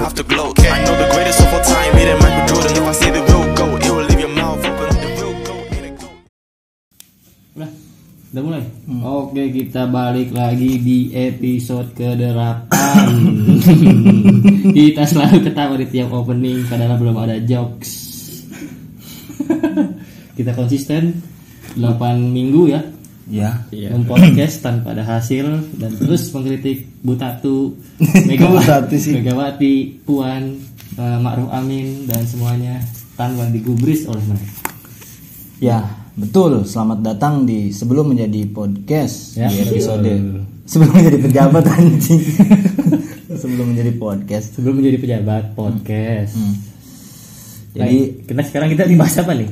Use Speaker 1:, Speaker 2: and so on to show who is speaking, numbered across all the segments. Speaker 1: Okay. I know the greatest of all time, it ain't Michael Jordan. If I say the real goat, it will leave your mouth open. The real goat, it a goat.
Speaker 2: Udah, udah mulai.
Speaker 3: Hmm.
Speaker 2: Oke, kita balik lagi di episode ke-8. kita selalu ketawa di tiap opening padahal belum ada jokes. kita konsisten 8 minggu ya
Speaker 3: Ya.
Speaker 2: mempodcast tanpa ada hasil dan terus mengkritik Butatu, Megawati,
Speaker 3: Butatu sih.
Speaker 2: Megawati, Puan, eh, Ma'ruf Amin dan semuanya tanpa digubris oleh mereka.
Speaker 3: Ya, betul. Selamat datang di sebelum menjadi podcast
Speaker 2: Ya,
Speaker 3: di
Speaker 2: betul.
Speaker 3: episode sebelum menjadi pejabat anjing. sebelum menjadi podcast.
Speaker 2: Sebelum menjadi pejabat podcast.
Speaker 3: Hmm.
Speaker 2: Jadi
Speaker 3: Jadi
Speaker 2: kita sekarang kita di bahas apa nih?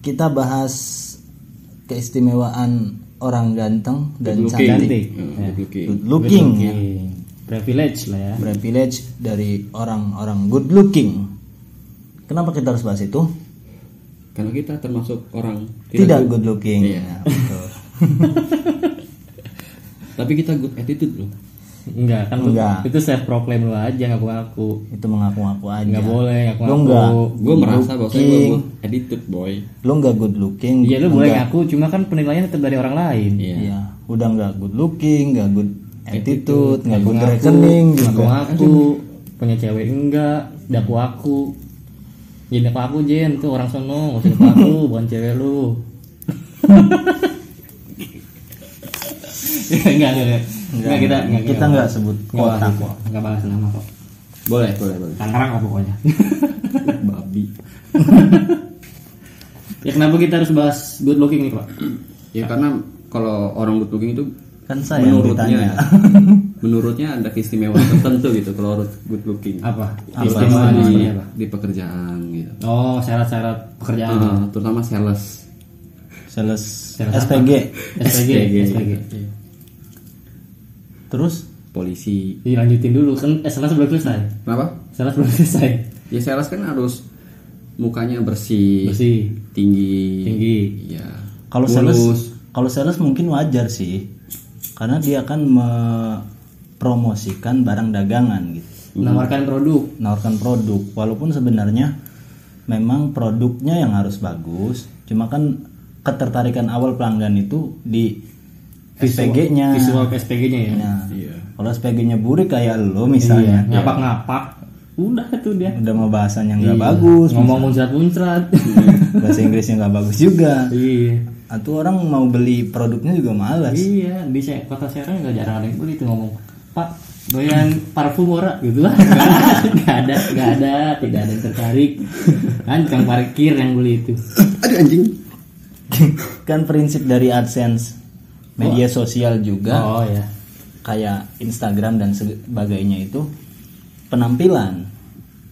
Speaker 3: kita bahas keistimewaan orang ganteng dan
Speaker 2: Cantik.
Speaker 3: cantik.
Speaker 2: Ya.
Speaker 4: Nah,
Speaker 2: Iya.
Speaker 3: Good looking. ya.
Speaker 2: Privilege lah ya.
Speaker 3: Privilege dari orang-orang good looking. Kenapa kita harus bahas itu?
Speaker 4: Karena kita termasuk orang
Speaker 3: Tidak, good looking.
Speaker 4: Iya.
Speaker 3: Ya, betul.
Speaker 4: tapi kita good attitude loh.
Speaker 2: Enggak kan lu-
Speaker 3: Enggak.
Speaker 2: itu saya proklaim lu aja ngaku ngaku.
Speaker 3: itu mengaku-ngaku aja.
Speaker 2: Enggak boleh
Speaker 3: Lu
Speaker 2: ngaku-ngaku.
Speaker 3: enggak.
Speaker 4: Gue merasa bahwa gue
Speaker 3: looking.
Speaker 4: good attitude boy.
Speaker 3: Lu enggak good looking.
Speaker 2: Iya lu
Speaker 3: enggak-
Speaker 2: boleh ngaku cuma kan penilaiannya tetap dari orang lain.
Speaker 4: Iya.
Speaker 3: Iya, udah nggak good looking, nggak good attitude, nggak good gitu ya.
Speaker 2: Ngaku-ngaku,
Speaker 3: rekening
Speaker 2: gitu
Speaker 3: juga.
Speaker 2: Ngaku-ngaku punya cewek enggak, daku aku. Jadi daku aku Jen tuh orang sono, maksud daku aku bukan cewek lu. Enggak, enggak, enggak. Enggak, kita enggak,
Speaker 3: Kita nggak sebut
Speaker 2: Enggak
Speaker 3: kota
Speaker 2: bahas
Speaker 3: kok.
Speaker 2: Enggak bahas nama kok.
Speaker 4: Boleh, boleh, boleh.
Speaker 2: Tangerang kok pokoknya.
Speaker 4: Babi.
Speaker 2: ya kenapa kita harus bahas good looking nih, Pak?
Speaker 4: Ya karena kalau orang good looking itu ya.
Speaker 3: Kan saya yang ditanya.
Speaker 4: menurutnya ada keistimewaan tertentu gitu kalau orang good looking.
Speaker 2: Apa? Istimewa
Speaker 4: Terutama di, iya.
Speaker 2: seperti apa? Ya.
Speaker 4: di pekerjaan gitu.
Speaker 2: Oh, syarat-syarat pekerjaan.
Speaker 4: Ah, terutama sales.
Speaker 3: Sales
Speaker 2: Sales
Speaker 3: SPG.
Speaker 2: SPG, SPG.
Speaker 4: Iya.
Speaker 3: Terus
Speaker 4: Polisi.
Speaker 2: Dilanjutin dulu kan eh, salah sebelum selesai.
Speaker 4: Kenapa?
Speaker 2: Salah sebelum selesai.
Speaker 4: Ya sales kan harus mukanya bersih,
Speaker 2: Bersih,
Speaker 4: tinggi,
Speaker 2: tinggi.
Speaker 4: Iya.
Speaker 3: kalau
Speaker 4: Mulus.
Speaker 3: sales kalau sales mungkin wajar sih. Karena dia akan mempromosikan barang dagangan gitu.
Speaker 2: Menawarkan produk.
Speaker 3: Menawarkan produk walaupun sebenarnya memang produknya yang harus bagus, cuma kan ketertarikan awal pelanggan itu di SPG-nya.
Speaker 2: Visual ke SPG-nya ya. Iya,
Speaker 3: Nah, Iya. kalau SPG-nya burik kayak lo misalnya, ya kan?
Speaker 2: Ngapak-ngapak. Udah tuh dia.
Speaker 3: udah mau bahasanya
Speaker 2: Iya.
Speaker 3: nggak bagus,
Speaker 2: Ngomong muncrat-muncrat.
Speaker 3: bahasa Inggrisnya nggak bagus juga,
Speaker 2: iya.
Speaker 3: atau orang mau beli produknya juga malas.
Speaker 2: Iya, di Se- kota Serang nggak jarang ada yang beli tuh ngomong, "Pak, doyan parfum ora?" gitu lah. Enggak ada, enggak ada, tidak ada yang tertarik. Kan tukang parkir yang beli itu.
Speaker 4: Aduh anjing.
Speaker 3: kan prinsip dari AdSense media sosial juga
Speaker 2: Oh ya.
Speaker 3: kayak Instagram dan sebagainya itu penampilan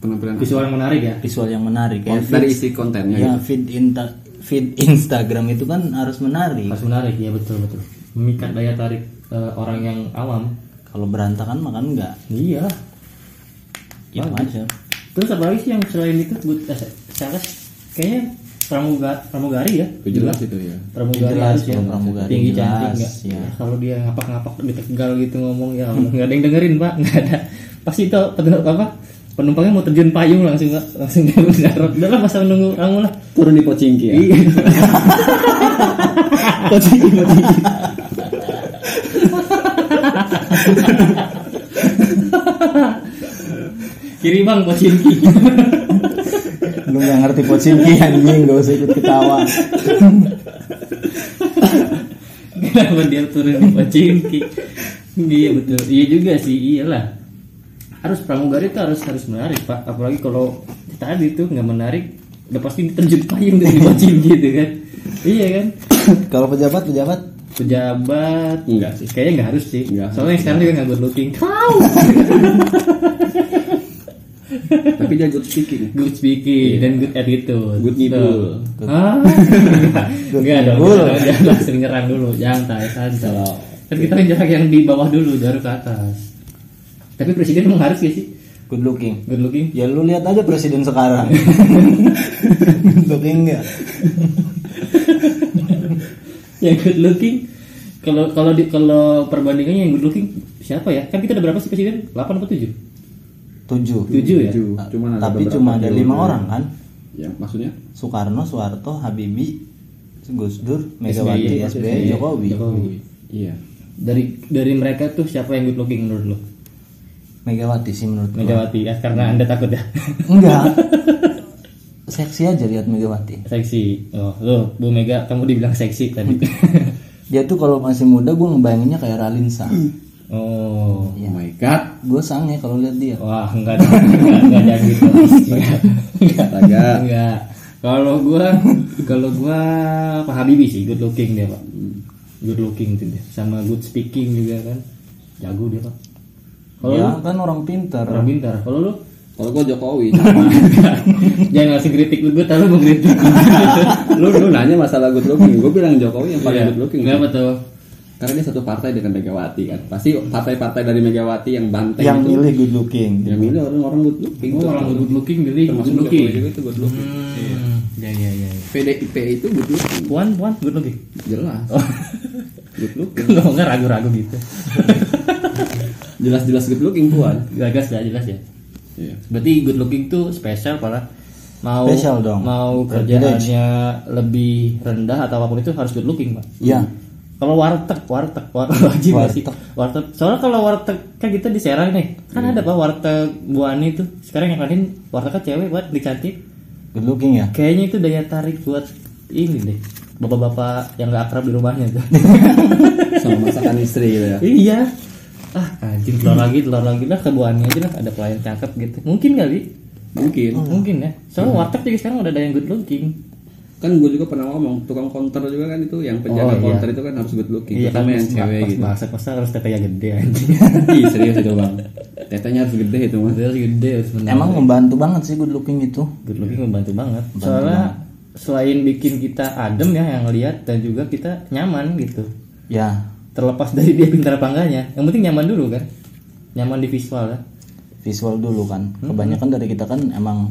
Speaker 4: Penampilan
Speaker 2: Visual yang menarik ya.
Speaker 3: visual yang menarik ya
Speaker 4: Kon- Oh, dari isi kontennya
Speaker 3: ya
Speaker 4: gitu.
Speaker 3: feed inta- feed Instagram itu kan harus menarik
Speaker 2: Harus menarik ya, betul betul. Memikat daya tarik eh, orang yang awam.
Speaker 3: kalau berantakan makan enggak
Speaker 2: Iya.
Speaker 3: itu Gitu aja
Speaker 2: Terus apa lagi sih yang selain itu buat eh, sales? Kayaknya pramuga pramugari ya.
Speaker 4: Itu jelas itu ya.
Speaker 2: Pramugari
Speaker 3: Jelas,
Speaker 2: harus ya.
Speaker 3: kalau pramugari
Speaker 2: Tinggi
Speaker 3: jelas,
Speaker 2: cantik enggak.
Speaker 3: ya.
Speaker 2: Kalau dia ngapak-ngapak di tegal gitu ngomong ya Allah, nggak ada yang dengerin, Pak. Nggak ada. Pasti itu penumpang apa? Penumpangnya mau terjun payung langsung Pak. langsung dia mendarat. Udah lah masa nunggu kamu lah.
Speaker 4: Turun di pocingki ya.
Speaker 2: Iya. Kiri bang, pocinki.
Speaker 3: lu nggak ngerti pocinki anjing gak usah ikut ketawa
Speaker 2: Kenapa dia turun di Pacimki? iya betul. Iya juga sih, iyalah. Harus pramugari itu harus harus menarik pak. Apalagi kalau tadi itu nggak menarik, udah pasti terjun payung dari Pacimki gitu kan. Iya kan.
Speaker 3: kalau pejabat pejabat
Speaker 2: Pejabat
Speaker 4: Enggak
Speaker 2: sih, kayaknya nggak harus sih.
Speaker 4: Nggak.
Speaker 2: Soalnya yang sekarang juga nggak good looking. Kau
Speaker 4: Tapi dia good speaking. Iya.
Speaker 2: good speaking dan good attitude.
Speaker 4: Good ngibul.
Speaker 2: Betul. Hah? Enggak dong.
Speaker 3: ngibul.
Speaker 2: jangan- Jangan langsung nyerang dulu. Santai, santai. Kan kita nyerang yang di bawah dulu, baru ke atas. Tapi presiden emang harus gak sih?
Speaker 3: good looking
Speaker 2: Good looking.
Speaker 3: Ya lu lihat aja presiden sekarang. Tapi enggak.
Speaker 2: Ya good looking. Kalau kalau di kalau perbandingannya yang good looking siapa ya? Kan kita ada berapa sih presiden? 8 atau 7?
Speaker 3: tujuh.
Speaker 2: Tujuh ya?
Speaker 4: Tujuh. Cuman ada
Speaker 3: Tapi
Speaker 4: beberapa
Speaker 3: cuma ada
Speaker 4: yang-
Speaker 3: lima orang kan?
Speaker 4: Ya, maksudnya?
Speaker 3: Soekarno, Soeharto, Habibie, Gus Dur, Megawati, SBY, Jokowi.
Speaker 2: Jokowi.
Speaker 4: Iya.
Speaker 2: Dari dari mereka tuh siapa yang good looking menurut lo?
Speaker 3: Megawati sih menurut gua.
Speaker 2: Megawati ya karena anda takut ya.
Speaker 3: Enggak. Seksi aja lihat Megawati.
Speaker 2: seksi. Oh, lo Bu Mega kamu dibilang seksi tadi.
Speaker 3: Dia tuh kalau masih muda gue ngebayanginnya kayak Raline Shah.
Speaker 2: oh.
Speaker 4: Oh my god.
Speaker 3: Gue sange kalau lihat dia.
Speaker 2: Wah, enggak dong. enggak, enggak gitu. jangan gitu. Enggak.
Speaker 4: Astaga.
Speaker 2: Enggak. Kalau gua kalau gua Pak Habibie sih good looking dia, Pak. Good looking tuh dia. Sama good speaking juga kan. Jago dia, Pak. Kalau
Speaker 3: ya
Speaker 2: lu
Speaker 3: kan orang
Speaker 4: Iya.
Speaker 3: pintar.
Speaker 2: orang pintar. Kalau lu
Speaker 4: Kalau gua Jokowi.
Speaker 2: jangan langsung kritik lu, gua tahu lu mau kritik.
Speaker 4: Iya, lu lu nanya masalah good looking, gua bilang Jokowi yang paling
Speaker 2: Iya.
Speaker 4: good looking.
Speaker 2: Kenapa tuh?
Speaker 4: Karena dia satu partai dengan Megawati kan. Pasti partai-partai dari Megawati yang banteng
Speaker 3: Yang
Speaker 4: itu
Speaker 3: milih good looking.
Speaker 4: yang milih orang-orang good looking.
Speaker 2: Oh, orang good looking jadi
Speaker 4: Termasuk
Speaker 2: good looking.
Speaker 4: Jokowi juga itu good looking.
Speaker 2: Hmm. Ya ya ya. ya.
Speaker 4: PDIP itu good looking.
Speaker 2: Puan, puan good looking.
Speaker 4: Jelas.
Speaker 2: Oh.
Speaker 4: Good looking.
Speaker 2: Kalau enggak ragu-ragu gitu.
Speaker 4: Jelas-jelas good looking puan.
Speaker 2: Gagas ya jelas ya.
Speaker 4: Iya.
Speaker 2: Berarti good looking tuh spesial pala mau
Speaker 3: Spesial dong.
Speaker 2: mau kerjaannya lebih rendah atau apapun itu harus good looking pak.
Speaker 3: Ya.
Speaker 2: Kalau warteg, warteg, warteg wajib nggak sih. Warteg. Soalnya kalau warteg kan kita di Serang nih, kan ada pak warteg Bu Ani tuh. Sekarang yang lain warteg cewek buat dicantik.
Speaker 3: Good looking ya.
Speaker 2: Kayaknya itu daya tarik buat ini deh. Bapak-bapak yang nggak akrab di rumahnya tuh.
Speaker 4: Sama masakan istri gitu ya.
Speaker 2: iya. Ah, anjing telur lagi, telur lagi lah ke Bu Ani aja lah ada pelayan cakep gitu. Mungkin kali.
Speaker 4: Mungkin.
Speaker 2: Mungkin ya. Soalnya warteg juga sekarang udah ada yang good looking.
Speaker 4: kan gue juga pernah ngomong tukang counter juga kan itu yang
Speaker 2: Oh,
Speaker 4: penjaga
Speaker 2: iya.
Speaker 4: counter itu kan harus good looking terutama yang cewek
Speaker 2: pas
Speaker 4: gitu
Speaker 2: Bahasa masa harus tetenya gede anjing.
Speaker 4: Ih, serius itu bang tetenya harus gede itu mas
Speaker 2: Harus gede harus benar.
Speaker 3: Emang membantu banget sih good looking itu.
Speaker 2: good looking membantu banget. Soalnya selain bikin kita adem ya yang lihat dan juga kita nyaman gitu.
Speaker 3: Ya.
Speaker 2: Terlepas dari dia pintar apa enggaknya, yang penting nyaman dulu kan. Nyaman di visual kan.
Speaker 3: Visual dulu kan. Kebanyakan dari kita kan emang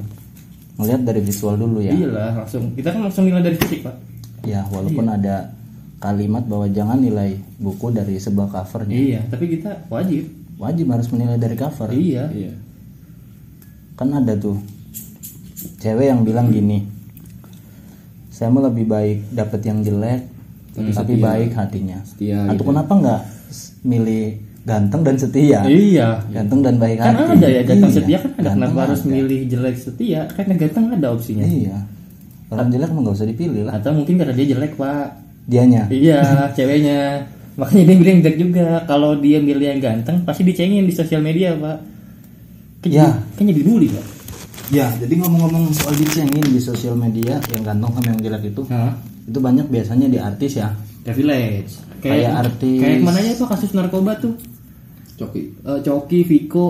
Speaker 3: ngelihat dari visual dulu ya.
Speaker 2: Iyalah, Iya, langsung kita kan langsung nilai dari fisik, Pak.
Speaker 3: Ya, walaupun ada kalimat bahwa jangan nilai buku dari sebuah covernya.
Speaker 2: Iya, tapi kita wajib.
Speaker 3: Wajib harus menilai dari cover.
Speaker 2: Iya.
Speaker 4: iya
Speaker 3: Kan ada tuh cewek yang bilang gini. Saya mau lebih baik dapat yang jelek tapi, baik hatinya.
Speaker 4: Setia
Speaker 3: Atau kenapa nggak s- milih ganteng dan setia?
Speaker 2: Iya.
Speaker 3: Ganteng dan baik
Speaker 2: Kan
Speaker 3: hati.
Speaker 2: ada ya ganteng
Speaker 3: Ya. Iya,
Speaker 2: setia kan ada
Speaker 3: ganteng
Speaker 2: kenapa harus
Speaker 3: ada.
Speaker 2: milih jelek setia? Karena ganteng ada opsinya.
Speaker 3: Iya. Orang jelek mah nggak usah dipilih lah.
Speaker 2: Atau mungkin karena dia jelek pak
Speaker 3: Dianya.
Speaker 2: Iya ceweknya Makanya dia milih yang jelek juga Kalau dia milih yang ganteng Pasti dicengin di sosial media pak Kan
Speaker 3: Ya.
Speaker 2: jadi- Kan jadi bully pak
Speaker 3: Ya, jadi ngomong-ngomong soal dicengin di sosial media yang ganteng sama yang jelek itu,
Speaker 2: Hah?
Speaker 3: itu banyak biasanya di artis ya.
Speaker 2: The Village Kayak,
Speaker 3: Kayak artis.
Speaker 2: Kayak kemana aja pak kasus narkoba tuh
Speaker 4: coki
Speaker 2: Eh, Coki, Viko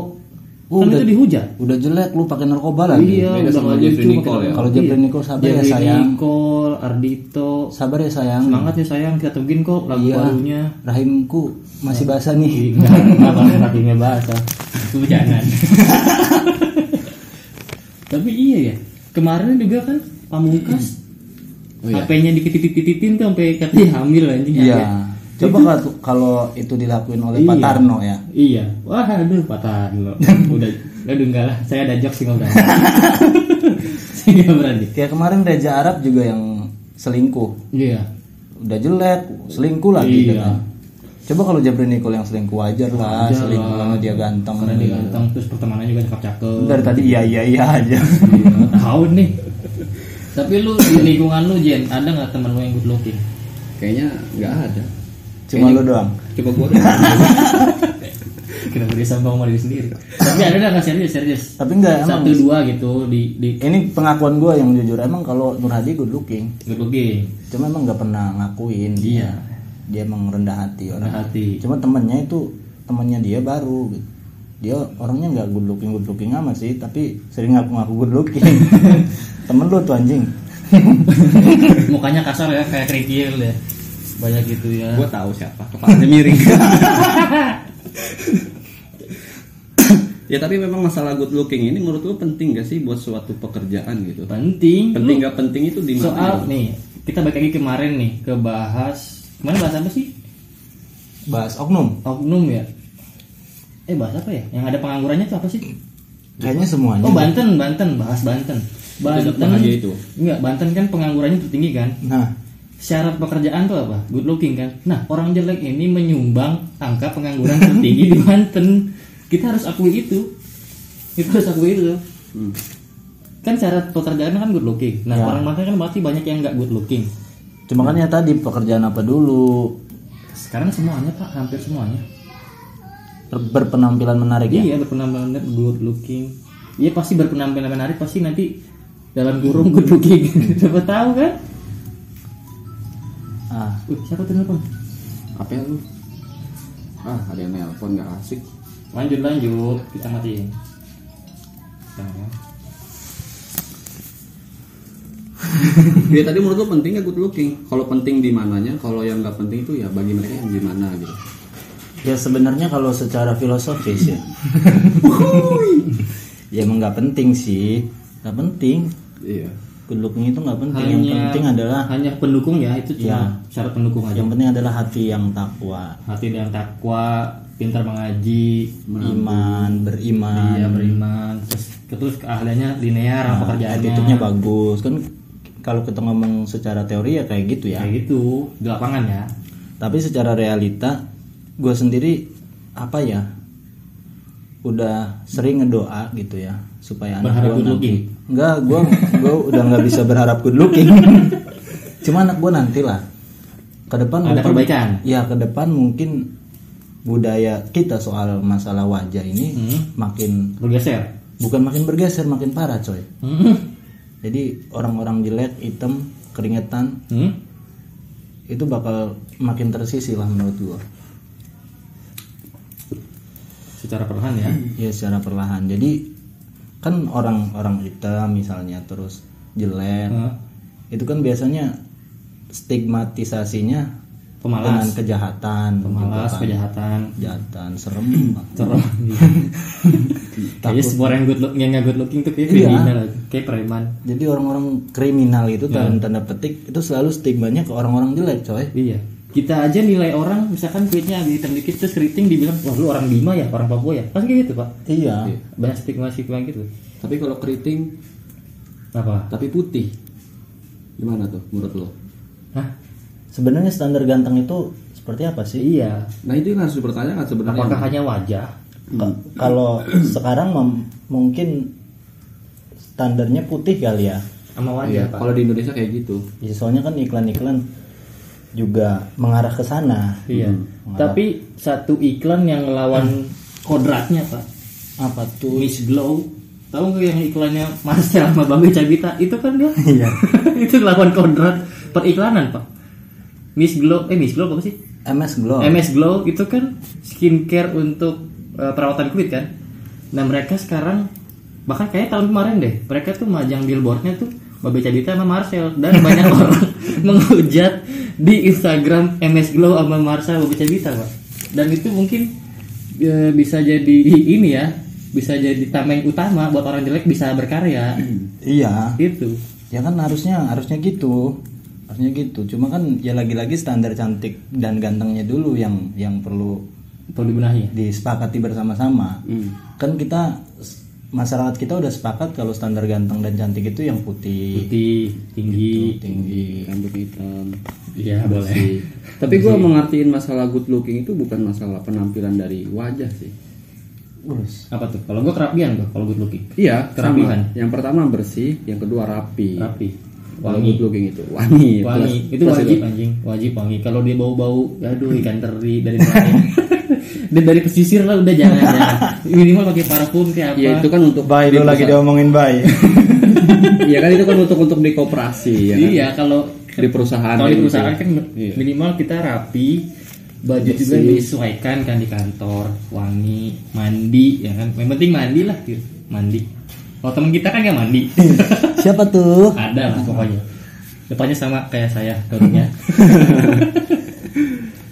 Speaker 3: Oh,
Speaker 2: Kan
Speaker 3: udah-
Speaker 2: itu dihujat
Speaker 3: Udah jelek lu pakai narkoba lagi.
Speaker 2: Iya
Speaker 4: Beda
Speaker 2: udah
Speaker 4: sama
Speaker 2: nggak
Speaker 4: Jeffrey
Speaker 2: lucu,
Speaker 4: Nicole
Speaker 2: pakai
Speaker 4: ya.
Speaker 2: narkoba.
Speaker 3: Kalau
Speaker 2: Iya.
Speaker 3: Jeffrey Nicole sabar ya,
Speaker 2: Jeffrey
Speaker 3: sayang.
Speaker 2: Nicole, Ardito
Speaker 3: Sabar ya sayang.
Speaker 2: Semangat ya sayang kita temuin kok lagu
Speaker 3: Iya.
Speaker 2: barunya
Speaker 3: Rahimku
Speaker 2: Iya.
Speaker 3: masih basah nih.
Speaker 2: Enggak, enggak kakinya basah. Itu jangan. Tapi iya ya. Kemarin juga kan Pamungkas
Speaker 4: Oh iya.
Speaker 2: HP-nya diketitit-tititin tuh sampai katanya hamil anjing.
Speaker 3: Iya.
Speaker 2: hamil.
Speaker 3: Coba kalau- kalau itu dilakuin oleh
Speaker 2: Iya.
Speaker 3: Pak Tarno ya.
Speaker 2: Iya. Wah, aduh patah lo. Udah udah enggak lah. Saya ada jokes sih enggak berani. Saya enggak berani.
Speaker 3: Kayak kemarin Reza Arab juga yang selingkuh.
Speaker 2: Iya.
Speaker 3: Udah jelek, selingkuh lagi
Speaker 2: Iya.
Speaker 3: gitu kan. Coba kalau Jeffrey Nicole yang selingkuh wajar lah,
Speaker 2: Wajar
Speaker 3: selingkuh
Speaker 2: lah.
Speaker 3: karena dia ganteng.
Speaker 2: Karena dia ganteng terus pertemanannya juga cakep-cakep.
Speaker 3: Dari tadi iya iya iya aja.
Speaker 2: Iya, Tahu nih. Tapi lu di lingkungan lu Jen, ada nggak teman lu yang good looking?
Speaker 4: kayaknya nggak ada
Speaker 3: Cuma lu doang.
Speaker 4: coba gue
Speaker 2: Kenapa dia sombong sama diri sendiri? Tapi ada nggak nggak serius serius?
Speaker 3: Tapi enggak emang
Speaker 2: Satu dua gitu di di
Speaker 3: ini pengakuan gue yang jujur emang kalau Nur Hadi good looking
Speaker 2: good looking,
Speaker 3: cuma emang nggak pernah ngakuin
Speaker 2: Iya.
Speaker 3: dia emang rendah hati orang
Speaker 2: rendah hati.
Speaker 3: cuma temennya itu temennya dia baru gitu. dia orangnya nggak good looking good looking amat sih tapi sering ngaku ngaku good looking temen lu tuh anjing
Speaker 2: Mukanya kasar ya kayak kerikil ya. Banyak gitu ya.
Speaker 4: gue tahu siapa kepalanya miring ya tapi memang masalah good looking ini menurut lu penting gak sih buat suatu pekerjaan gitu
Speaker 2: Penting.
Speaker 4: penting
Speaker 2: Lu-
Speaker 4: nggak penting itu di mana
Speaker 2: Soal
Speaker 4: gitu?
Speaker 2: nih kita balik lagi kemarin nih ke bahas kemarin bahas apa sih?
Speaker 3: bahas oknum
Speaker 2: Oknum ya. Eh bahas apa ya? Yang ada penganggurannya itu apa sih?
Speaker 3: Kayaknya semuanya.
Speaker 2: Oh Banten, Banten, bahas Banten.
Speaker 4: Tidak bahagia itu.
Speaker 2: Enggak, Banten kan penganggurannya tertinggi kan.
Speaker 3: Nah,
Speaker 2: Syarat pekerjaan tuh apa? Good looking kan. Nah, orang jelek ini menyumbang angka pengangguran tertinggi di Banten. Kita harus akui itu. Kita harus akui itu.
Speaker 4: Hmm.
Speaker 2: Kan syarat pekerjaan kan good looking. Nah,
Speaker 3: Ya.
Speaker 2: orang Banten kan berarti banyak yang nggak good looking.
Speaker 3: cuma kan ya tadi pekerjaan apa dulu
Speaker 2: Sekarang semuanya Pak, hampir semuanya.
Speaker 3: Ber- berpenampilan menarik ya.
Speaker 2: Iya, berpenampilan menarik, good looking. Iya pasti berpenampilan menarik pasti nanti dalam kurung good looking. Siapa tahu kan?
Speaker 3: Ah,
Speaker 2: Uh, siapa tuh nelpon?
Speaker 4: Apa ya lu? Ah, ada yang nelpon nggak asik.
Speaker 2: Lanjut lanjut, kita matiin. Jangan.
Speaker 4: Ya tadi menurut lu penting nggak good looking? Kalau penting di mananya? Kalau yang nggak penting itu ya bagi mereka yang gimana gitu.
Speaker 3: ya sebenarnya kalau secara filosofis ya. ya emang nggak penting sih. Nggak penting.
Speaker 4: Iya.
Speaker 3: Good looking itu nggak penting. yang penting adalah
Speaker 2: hanya pendukung ya itu cuma
Speaker 3: Iya.
Speaker 2: syarat pendukung aja.
Speaker 3: yang penting adalah hati yang takwa,
Speaker 2: Hati dan takwa, pintar mengaji,
Speaker 3: iman, beriman. Ah,
Speaker 2: dia Iya, beriman, Nah, terus terus keahliannya linear sama pekerjaannya.
Speaker 3: Attitude-nya bagus kan kalau kita ngomong secara teori ya kayak gitu ya.
Speaker 2: Kayak gitu di lapangan ya.
Speaker 3: Tapi secara realita gue sendiri apa ya udah sering ngedoa gitu ya supaya anak
Speaker 2: Berharap
Speaker 3: gua
Speaker 2: good
Speaker 3: nanti-
Speaker 2: looking?
Speaker 3: Enggak, gue gua udah nggak bisa berharap good looking. Cuma anak gue nantilah ke depan
Speaker 2: Ada
Speaker 3: mungkin-
Speaker 2: perbaikan.
Speaker 3: Ya ke depan mungkin budaya kita soal masalah wajah ini
Speaker 2: Hmm.
Speaker 3: makin
Speaker 2: Bergeser.
Speaker 3: bukan makin bergeser makin parah coy.
Speaker 2: Hmm.
Speaker 3: Jadi orang-orang jelek, hitam, keringetan
Speaker 2: Hmm?
Speaker 3: itu bakal makin tersisi lah menurut gua.
Speaker 2: Secara perlahan ya.
Speaker 3: Ya secara perlahan. Jadi kan orang-orang hitam misalnya terus jelek,
Speaker 2: Hah?
Speaker 3: itu kan biasanya stigmatisasinya dengan
Speaker 2: Pemalas,
Speaker 3: kejahatan,
Speaker 2: pemalas,
Speaker 3: gitu kan.
Speaker 2: kejahatan,
Speaker 3: kejahatan, serem. banget.
Speaker 2: Terus Kayaknya semua orang Iya, yang good look, yang gak good looking tuh kayak
Speaker 3: Iya.
Speaker 2: kriminal, kayak preman.
Speaker 3: Jadi orang-orang kriminal itu dalam tanda petik itu selalu stigmanya ke orang-orang jelek, coy.
Speaker 2: Iya. Kita aja nilai orang, misalkan kulitnya agak hitam dikit terus keriting dibilang, wah lu orang Bima ya, orang Papua ya. Pasti kayak gitu pak.
Speaker 3: Iya.
Speaker 2: Banyak stigma stigma gitu.
Speaker 4: Tapi kalau keriting
Speaker 2: Apa?
Speaker 4: tapi putih, gimana tuh menurut lo?
Speaker 2: Hah?
Speaker 3: Sebenarnya standar ganteng itu seperti apa sih?
Speaker 2: Iya.
Speaker 4: Nah itu yang harus dipertanyakan sebenarnya.
Speaker 2: Apakah hanya wajah? Hmm.
Speaker 3: Ka- kalau sekarang mem- mungkin standarnya putih kali ya.
Speaker 2: Sama
Speaker 4: Iya,
Speaker 2: wajah pak.
Speaker 4: kalau di Indonesia kayak gitu.
Speaker 3: Ya, soalnya kan iklan-iklan juga mengarah ke sana.
Speaker 2: Iya.
Speaker 4: Hmm,
Speaker 2: Tapi satu iklan yang ngelawan kodratnya pak.
Speaker 3: Apa tuh?
Speaker 2: Miss Glow. Tahu nggak yang iklannya Marcel sama Bambi Cabita itu kan dia?
Speaker 3: Iya.
Speaker 2: itu lawan kodrat periklanan pak. Miss Glow, eh Miss Glow apa sih?
Speaker 3: MS Glow.
Speaker 2: MS Glow itu kan skincare untuk eh, perawatan kulit kan. Nah mereka sekarang bahkan kayak tahun kemarin deh mereka tuh majang billboardnya tuh Babe Cadita sama Marcel dan banyak orang menghujat di Instagram MS Glow sama Marcel Babe Cadita pak. Dan itu mungkin eh, bisa jadi ini ya bisa jadi tameng utama buat orang jelek bisa berkarya
Speaker 3: Iya.
Speaker 2: gitu.
Speaker 3: Ya kan harusnya harusnya gitu. Harusnya gitu. Cuma kan ya lagi-lagi standar cantik dan gantengnya dulu yang yang perlu
Speaker 2: Perlu dibenahi.
Speaker 3: disepakati bersama-sama. Kan kita masyarakat kita udah sepakat kalau standar ganteng dan cantik itu yang putih,
Speaker 2: Putih, tinggi,
Speaker 3: tinggi.
Speaker 4: Rambut hitam.
Speaker 2: iya boleh.
Speaker 4: Tapi gue mengertiin masalah good looking itu bukan masalah penampilan dari wajah sih.
Speaker 3: Urus.
Speaker 2: Apa tuh? Kalau gue kerapian tuh, kalau good looking.
Speaker 4: Iya,
Speaker 2: Kerapihan.
Speaker 4: sama. Yang pertama bersih, yang kedua rapi.
Speaker 2: rapi
Speaker 4: Kalau good looking itu wangi.
Speaker 2: wangi
Speaker 4: Plus-
Speaker 2: itu
Speaker 4: plus
Speaker 2: wajib anjing wajib wangi kalau dia bau bau aduh ikan teri dari mana dan dari pesisir lah udah jangan ya minimal pakai parfum kayak apa
Speaker 4: Ya itu kan untuk
Speaker 3: Bye, lu lagi diomongin bye.
Speaker 4: Iya kan itu kan untuk untuk di koperasi ya kan?
Speaker 2: iya kalau
Speaker 4: Di perusahaan.
Speaker 2: kalau di
Speaker 4: gitu.
Speaker 2: perusahaan kan
Speaker 4: Iya.
Speaker 2: minimal kita rapi baju juga disesuaikan kan di kantor wangi mandi ya kan yang penting mandi lah gitu mandi kalau teman kita kan nggak mandi
Speaker 3: Siapa tuh?
Speaker 2: ada lah pokoknya depannya sama kayak saya barunya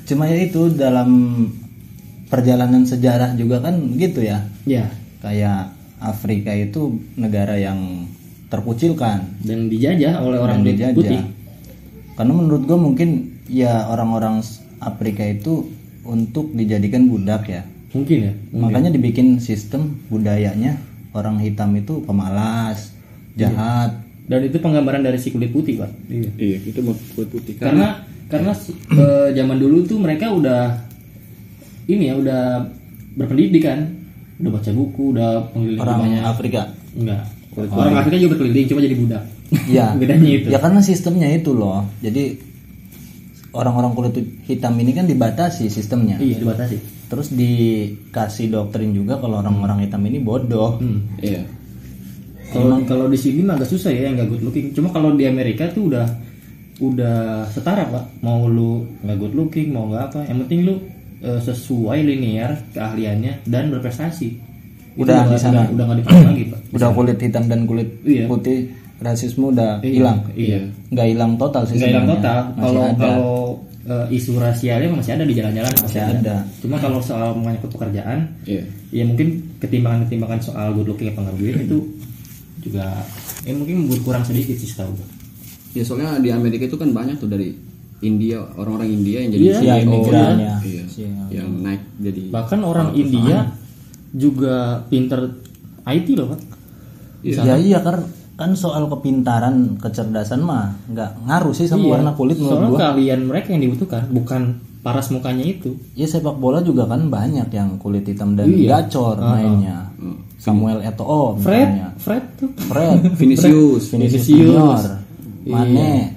Speaker 3: Cuma ya itu dalam perjalanan sejarah juga kan gitu ya.
Speaker 2: ya
Speaker 3: Kayak Afrika itu negara yang terkucilkan
Speaker 2: dan dijajah oleh orang
Speaker 3: dan
Speaker 2: kulit
Speaker 3: dijajah.
Speaker 2: putih
Speaker 3: Karena menurut gue mungkin ya orang-orang Afrika itu untuk dijadikan budak ya.
Speaker 2: mungkin ya
Speaker 3: Makanya dibikin sistem budayanya orang hitam itu pemalas, jahat.
Speaker 2: dan itu penggambaran dari si kulit putih pak
Speaker 4: Iya, itu mau kulit putih
Speaker 2: karena karena se- eh, zaman dulu tuh mereka udah ini ya udah berpendidikan udah baca buku udah mengelilingi
Speaker 3: Orang
Speaker 2: banyak
Speaker 3: Afrika.
Speaker 2: enggak orang Afrika juga berkeliling cuma jadi budak
Speaker 3: Iya.
Speaker 2: bedanya itu
Speaker 3: Ya karena sistemnya itu loh. Jadi orang-orang kulit hitam ini kan dibatasi sistemnya.
Speaker 2: iya dibatasi
Speaker 3: Terus dikasih doktrin juga kalau orang-orang hitam ini bodoh.
Speaker 2: hmm.
Speaker 4: Iya.
Speaker 2: kalau kalau di sini mah agak susah ya yang gak good looking cuma kalau di Amerika tuh udah udah setara pak mau lu nggak good looking mau nggak apa yang penting lu eh, sesuai linear keahliannya dan berprestasi Itu
Speaker 3: Udah di
Speaker 2: nggak-
Speaker 3: sana.
Speaker 2: udah udah nggak dipakai lagi pak
Speaker 3: Udah kulit hitam dan kulit
Speaker 2: Iya.
Speaker 3: putih rasisme udah hilang.
Speaker 2: iya
Speaker 3: Nggak hilang total sih
Speaker 2: nggak hilang
Speaker 3: sebenarnya.
Speaker 2: total
Speaker 3: Masih
Speaker 2: kalau
Speaker 3: ada.
Speaker 2: kalau eh, isu rasialnya masih ada di jalan-jalan masih,
Speaker 3: ada.
Speaker 2: cuma kalau soal menyangkut pekerjaan
Speaker 4: Iya.
Speaker 2: ya mungkin ketimbangan-ketimbangan soal good looking apa nggak good looking itu juga eh mungkin berkurang sedikit sih setahu gue
Speaker 4: Ya soalnya di Amerika itu kan banyak tuh dari India, orang-orang India yang jadi
Speaker 2: Iya,
Speaker 3: Iya,
Speaker 4: CEO,
Speaker 3: imigran ya.
Speaker 4: Iya.
Speaker 3: Iya.
Speaker 4: Yang naik jadi
Speaker 2: bahkan orang India juga pinter IT loh pak
Speaker 3: Ya iya kan kan soal kepintaran, kecerdasan mah nggak ngaruh sih sama Iya. warna kulit
Speaker 2: Iya.
Speaker 3: menurut
Speaker 2: soalnya
Speaker 3: gua.
Speaker 2: keahlian mereka yang dibutuhkan bukan paras mukanya itu
Speaker 3: Ya sepak bola juga kan banyak yang kulit hitam dan
Speaker 2: Iya.
Speaker 3: gacor mainnya. Samuel
Speaker 2: Ah,
Speaker 3: Eto'o misalnya.
Speaker 2: Hmm. Fred Fred tuh
Speaker 3: Fred,
Speaker 4: Vinicius.
Speaker 3: Vinicius
Speaker 2: Vinicius.
Speaker 3: Junior, Mane,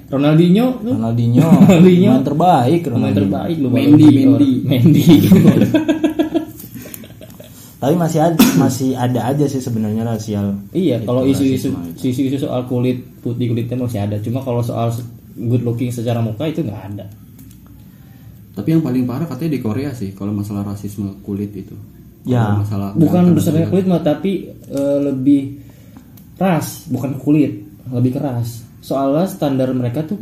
Speaker 2: Iya. Ronaldinho tuh
Speaker 3: Ronaldinho,
Speaker 2: Ronaldinho.
Speaker 3: pemain terbaik
Speaker 2: pemain
Speaker 3: Ronaldinho.
Speaker 2: terbaik loh
Speaker 4: Mendy, Mendy.
Speaker 2: Mendy
Speaker 3: Tapi masih ada, masih ada aja sih sebenarnya rasial.
Speaker 2: iya kalau isu-isu isu-isu soal kulit putih kulit hitam masih ada cuma kalau soal se- good looking secara muka itu nggak ada
Speaker 4: Tapi yang paling parah katanya di Korea sih kalau masalah rasisme kulit itu.
Speaker 3: Ya.
Speaker 4: Kalau masalah
Speaker 2: bukan berdasarkan kulit mah tapi eh, lebih ras bukan kulit lebih keras soalnya standar mereka tuh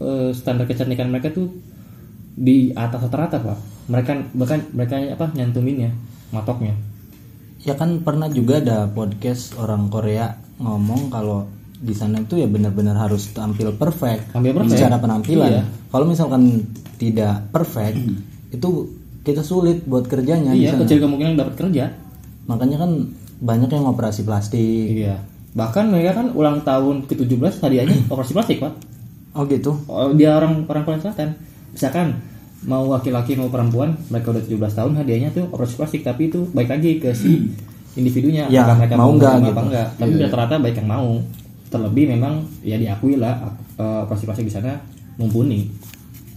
Speaker 2: eh, standar kecantikan mereka tuh di atas rata-rata pak mereka bahkan mereka apa nyantuminnya matoknya
Speaker 3: Ya kan pernah juga ada podcast orang Korea ngomong kalau di sana itu ya benar-benar harus tampil perfect,
Speaker 2: Tampil perfect. Iya.
Speaker 3: secara penampilan. Kalau misalkan tidak perfect, itu kita sulit buat kerjanya
Speaker 2: Hmm.
Speaker 3: di
Speaker 2: iya
Speaker 3: sana.
Speaker 2: kecil kemungkinan dapat kerja
Speaker 3: Makanya kan banyak yang operasi plastik.
Speaker 2: Iya. Bahkan mereka kan ulang tahun ke-17 hadiahnya operasi plastik, Pak.
Speaker 3: Oh gitu.
Speaker 2: Oh, Dia orang orang Korea Selatan. Misalkan mau laki-laki mau perempuan, mereka udah 17 tahun hadiahnya tuh operasi plastik, tapi itu baik lagi ke si individunya
Speaker 3: Hmm. Ya,
Speaker 2: apakah mereka
Speaker 3: mau nggak
Speaker 2: menerima
Speaker 3: gitu.
Speaker 2: apa enggak. Tapi rata-rata baik yang mau. Terlebih memang ya diakui lah eh, operasi plastik di sana mumpuni.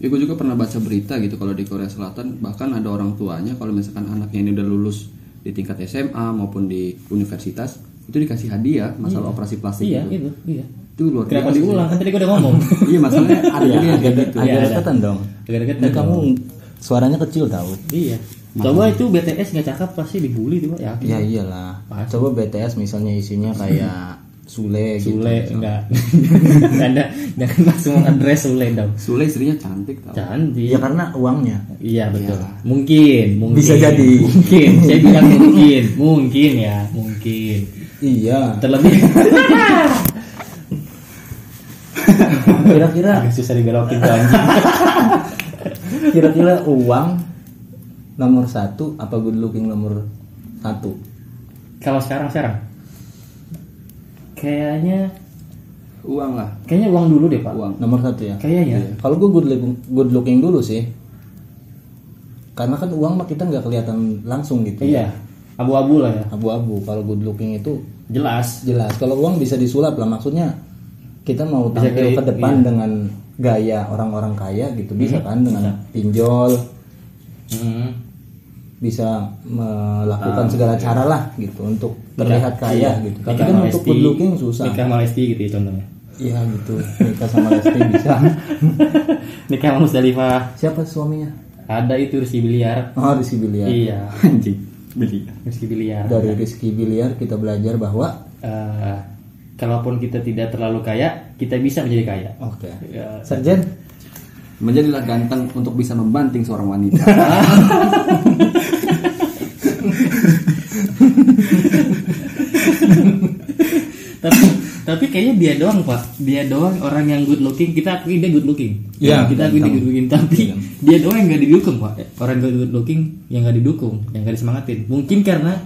Speaker 4: Ya gue juga pernah baca berita gitu kalau di Korea Selatan bahkan ada orang tuanya kalau misalkan anaknya ini udah lulus di tingkat SMA maupun di universitas itu dikasih hadiah masalah operasi plastik
Speaker 2: Iya,
Speaker 4: gitu.
Speaker 2: itu, iya.
Speaker 4: Itu luar
Speaker 2: Kenapa
Speaker 4: biasa.
Speaker 2: diulang? Kan tadi gue udah ngomong.
Speaker 4: Iya masalahnya ada juga yang kayak gitu.
Speaker 3: Agak
Speaker 2: Iya, ada.
Speaker 3: deketan dong.
Speaker 2: Gara-gara
Speaker 3: Dan kamu suaranya kecil tahu.
Speaker 2: gitu. Iya. Coba itu BTS nggak cakep pasti dibully tuh, Pak. ya.
Speaker 3: Ya iyalah. Coba BTS misalnya isinya kayak Sule gitu.
Speaker 2: Hmm. Sule enggak. Anda jangan langsung address Sule dong.
Speaker 4: Sule istrinya cantik tau.
Speaker 3: Ya
Speaker 2: Cantik.
Speaker 3: karena uangnya.
Speaker 2: Iya betul. Mungkin, mungkin.
Speaker 3: Bisa jadi.
Speaker 2: Mungkin. Saya bilang mungkin, mungkin ya, mungkin.
Speaker 3: Iya.
Speaker 2: Terlebih
Speaker 3: Kira-kira
Speaker 2: agak susah dibelokin tuh anjing.
Speaker 3: kira-kira uang nomor satu apa good looking nomor satu
Speaker 2: Kalau sekarang sekarang kayaknya
Speaker 4: Uang lah.
Speaker 2: kayaknya uang dulu deh, Pak.
Speaker 4: Uang.
Speaker 3: nomor satu ya
Speaker 2: Kayaknya.
Speaker 3: kalau gue good looking, good looking dulu sih karena kan uang mah kita nggak kelihatan langsung gitu
Speaker 2: Iya. Abu-abu lah ya.
Speaker 3: abu-abu kalau good looking itu
Speaker 2: Jelas.
Speaker 3: jelas kalau uang bisa disulap lah maksudnya kita mau
Speaker 2: Bisa kayak- iya.
Speaker 3: tampil ke depan dengan gaya orang-orang kaya gitu bisa
Speaker 2: Mhm.
Speaker 3: kan dengan pinjol
Speaker 2: Hmm.
Speaker 3: bisa melakukan
Speaker 2: Ah,
Speaker 3: segala cara lah gitu untuk terlihat kaya gitu
Speaker 2: iya.
Speaker 3: tapi
Speaker 2: Nikah
Speaker 3: kan
Speaker 2: sama
Speaker 3: untuk
Speaker 2: Lesti.
Speaker 3: good looking susah
Speaker 2: Nikah sama Lesti gitu ya contohnya.
Speaker 3: Iya gitu, nikah sama Lesti bisa.
Speaker 2: Nikah sama Musdalifah.
Speaker 3: Siapa suaminya?
Speaker 2: Ada itu Rizky Biliar.
Speaker 3: Oh Rizky Biliar.
Speaker 2: Iya.
Speaker 4: Anjing. Beli.
Speaker 2: Rizky Biliar.
Speaker 3: Dari Rizky Biliar kita belajar bahwa
Speaker 2: Eh, kalaupun kita tidak terlalu kaya, kita bisa menjadi kaya.
Speaker 3: Oke.
Speaker 2: Ya.
Speaker 3: Sarjen,
Speaker 4: Menjadilah ganteng untuk bisa membanting seorang wanita.
Speaker 2: tapi tapi kayaknya dia doang pak, dia doang orang yang good looking. Kita akui dia good looking.
Speaker 3: Iya,
Speaker 2: Kita akui dia good looking. Tapi dia doang yang gak didukung pak. Orang good looking yang gak didukung, yang gak disemangatin. Mungkin karena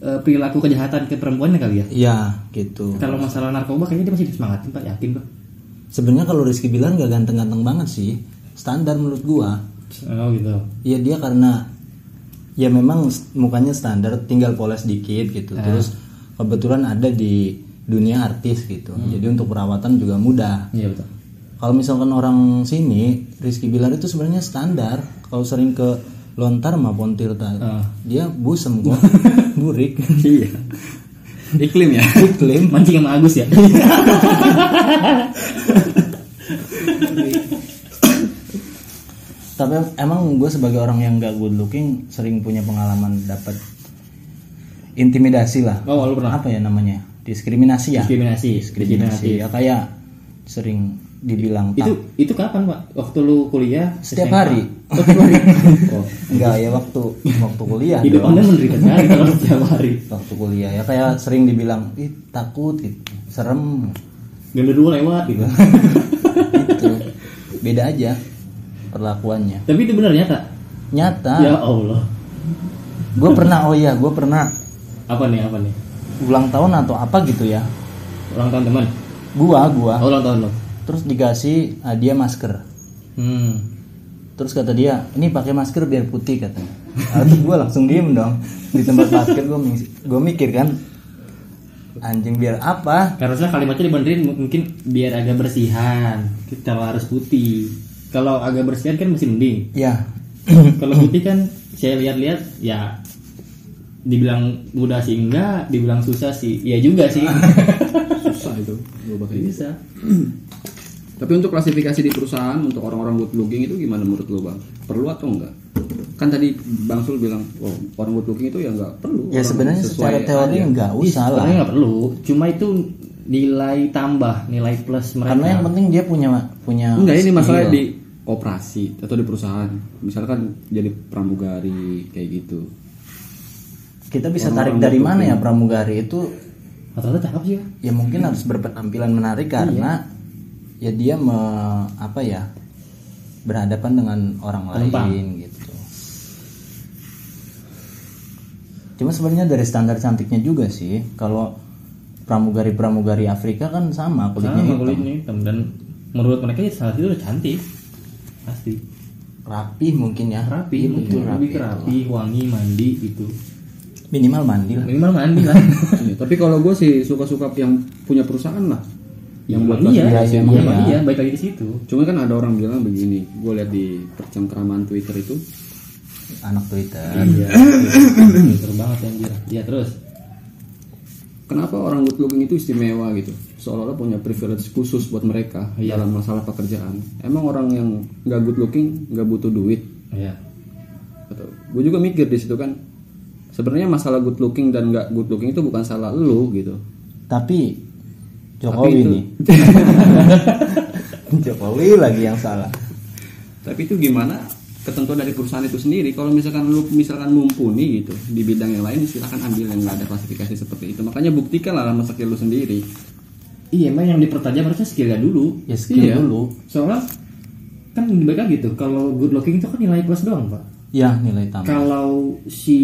Speaker 2: eh, perilaku kejahatan ke perempuannya kali ya.
Speaker 3: Iya gitu.
Speaker 2: Kalau masalah narkoba kayaknya dia masih disemangatin Pak, yakin Pak.
Speaker 3: Sebenarnya kalau Rizky Bilar nggak ganteng-ganteng banget sih. Standar menurut gua.
Speaker 2: Oh gitu.
Speaker 3: Iya dia karena ya memang s- mukanya standar, tinggal poles dikit
Speaker 2: Eh.
Speaker 3: gitu. Terus kebetulan ada di dunia artis gitu. Jadi untuk perawatan juga mudah.
Speaker 2: Hmm. Iya betul.
Speaker 3: Kalau misalkan orang sini Rizky Bilar itu sebenarnya standar. Kalau sering ke Lontar sama Pontirta,
Speaker 2: Ah.
Speaker 3: dia busem kok, burik.
Speaker 2: Eh. Iya.
Speaker 4: Iklim ya.
Speaker 3: Iklim
Speaker 2: Mancing sama Agus ya.
Speaker 3: tapi emang gue sebagai orang yang gak good looking sering punya pengalaman dapat intimidasi lah
Speaker 2: Oh, lu pernah
Speaker 3: apa ya namanya diskriminasi ya
Speaker 2: diskriminasi, diskriminasi.
Speaker 3: diskriminasi ya kayak sering dibilang
Speaker 2: Itu
Speaker 3: tak
Speaker 2: itu kapan Pak? Waktu lu kuliah?
Speaker 3: setiap
Speaker 2: SMA?
Speaker 3: hari
Speaker 2: Oh, Setiap hari.
Speaker 3: oh, enggak ya waktu waktu kuliah
Speaker 2: Hidup
Speaker 3: dong.
Speaker 2: Anda menderita sekali kalau setiap hari.
Speaker 3: waktu kuliah ya kayak sering dibilang ih takut gitu. serem
Speaker 2: Ganda dua lewat gitu.
Speaker 3: gitu beda aja perlakuannya
Speaker 2: Tapi itu benar nyata.
Speaker 3: nyata
Speaker 2: Ya Allah.
Speaker 3: gue pernah oh iya gue pernah
Speaker 2: Apa nih? Apa nih?
Speaker 3: ulang tahun atau apa gitu ya
Speaker 2: Ulang tahun teman.
Speaker 3: gua gua
Speaker 2: Oh, ulang tahun lo.
Speaker 3: terus dikasih hadiah masker
Speaker 2: Hmm.
Speaker 3: terus kata dia ini pakai masker biar putih katanya Ah, terus gue langsung diem dong di tempat masker gue mikir kan anjing biar apa
Speaker 2: Harusnya kalimatnya dibenerin mungkin biar agak bersihan. Kita harus putih. Kalau agak bersihan kan masih mending.
Speaker 3: ya
Speaker 2: Kalau putih kan saya lihat-lihat ya dibilang mudah sih enggak, dibilang susah sih. Iya juga sih.
Speaker 4: Susah itu. Gua bakal ini.
Speaker 2: Bisa.
Speaker 4: Tapi untuk klasifikasi di perusahaan untuk orang-orang good looking itu gimana menurut lo bang? Perlu atau enggak? Kan tadi Bang Sul bilang, oh, orang good looking itu ya enggak perlu.
Speaker 3: ya
Speaker 4: Orang
Speaker 3: sebenarnya
Speaker 4: sesuai
Speaker 3: secara teori
Speaker 4: aja.
Speaker 3: nggak usah lah
Speaker 2: Sebenarnya nggak perlu. Cuma itu nilai tambah, nilai plus mereka.
Speaker 3: karena yang penting dia punya punya
Speaker 4: Enggak ya. ini masalah
Speaker 3: skill.
Speaker 4: di operasi atau di perusahaan. Misalkan jadi pramugari kayak gitu.
Speaker 3: kita bisa tarik dari mana ya pramugari itu
Speaker 2: Rata-rata cakep sih. Pak.
Speaker 3: ya mungkin harus berpenampilan menarik karena ya dia me- apa ya berhadapan dengan orang
Speaker 2: Penumpang.
Speaker 3: lain gitu. Cuma sebenarnya dari standar cantiknya juga sih. Kalau pramugari-pramugari Afrika kan sama kulitnya
Speaker 2: Sama
Speaker 3: hitam.
Speaker 2: kulitnya hitam dan menurut mereka ya saat itu udah cantik. Pasti.
Speaker 3: Rapi mungkin ya.
Speaker 2: Rapi,
Speaker 3: Iya, betul,
Speaker 2: mungkin
Speaker 3: rapi.
Speaker 2: lebih ke rapi, wangi, mandi gitu.
Speaker 3: Minimal mandi lah.
Speaker 2: Minimal mandi lah.
Speaker 4: Iya, tapi kalau gue sih suka-suka yang punya perusahaan lah.
Speaker 2: yang
Speaker 4: Yang buat
Speaker 2: iya, iya,
Speaker 4: klasifikasi.
Speaker 2: iya,
Speaker 3: emang
Speaker 2: emang
Speaker 3: iya.
Speaker 2: iya, baik lagi di situ.
Speaker 4: Cuma kan ada orang bilang begini, gue lihat di percengkraman Twitter itu
Speaker 3: Anak Twitter.
Speaker 2: Iya. Pinter banget anjir. Iya, terus.
Speaker 4: kenapa orang good looking itu istimewa gitu seolah-olah punya privilege khusus buat mereka dalam masalah pekerjaan emang orang yang nggak good looking nggak butuh duit
Speaker 2: Iya.
Speaker 4: atau gue juga mikir di situ kan sebenarnya masalah good looking dan nggak good looking itu bukan salah lu gitu
Speaker 3: Tapi Jokowi
Speaker 4: itu-
Speaker 3: nih. Jokowi lagi yang salah.
Speaker 4: tapi itu gimana ketentuan dari perusahaan itu sendiri kalau misalkan lu misalkan mumpuni gitu di bidang yang lain silahkan ambil yang nggak ada klasifikasi seperti itu makanya buktikanlah sama skill lu sendiri
Speaker 2: Iya, emang yang dipertajam harusnya skillnya dulu.
Speaker 3: Ya skill
Speaker 4: Iya.
Speaker 3: dulu.
Speaker 2: Soalnya kan baik lagi tuh, kalau good looking itu kan nilai plus doang, Pak.
Speaker 3: Ya nilai tambah.
Speaker 2: Kalau si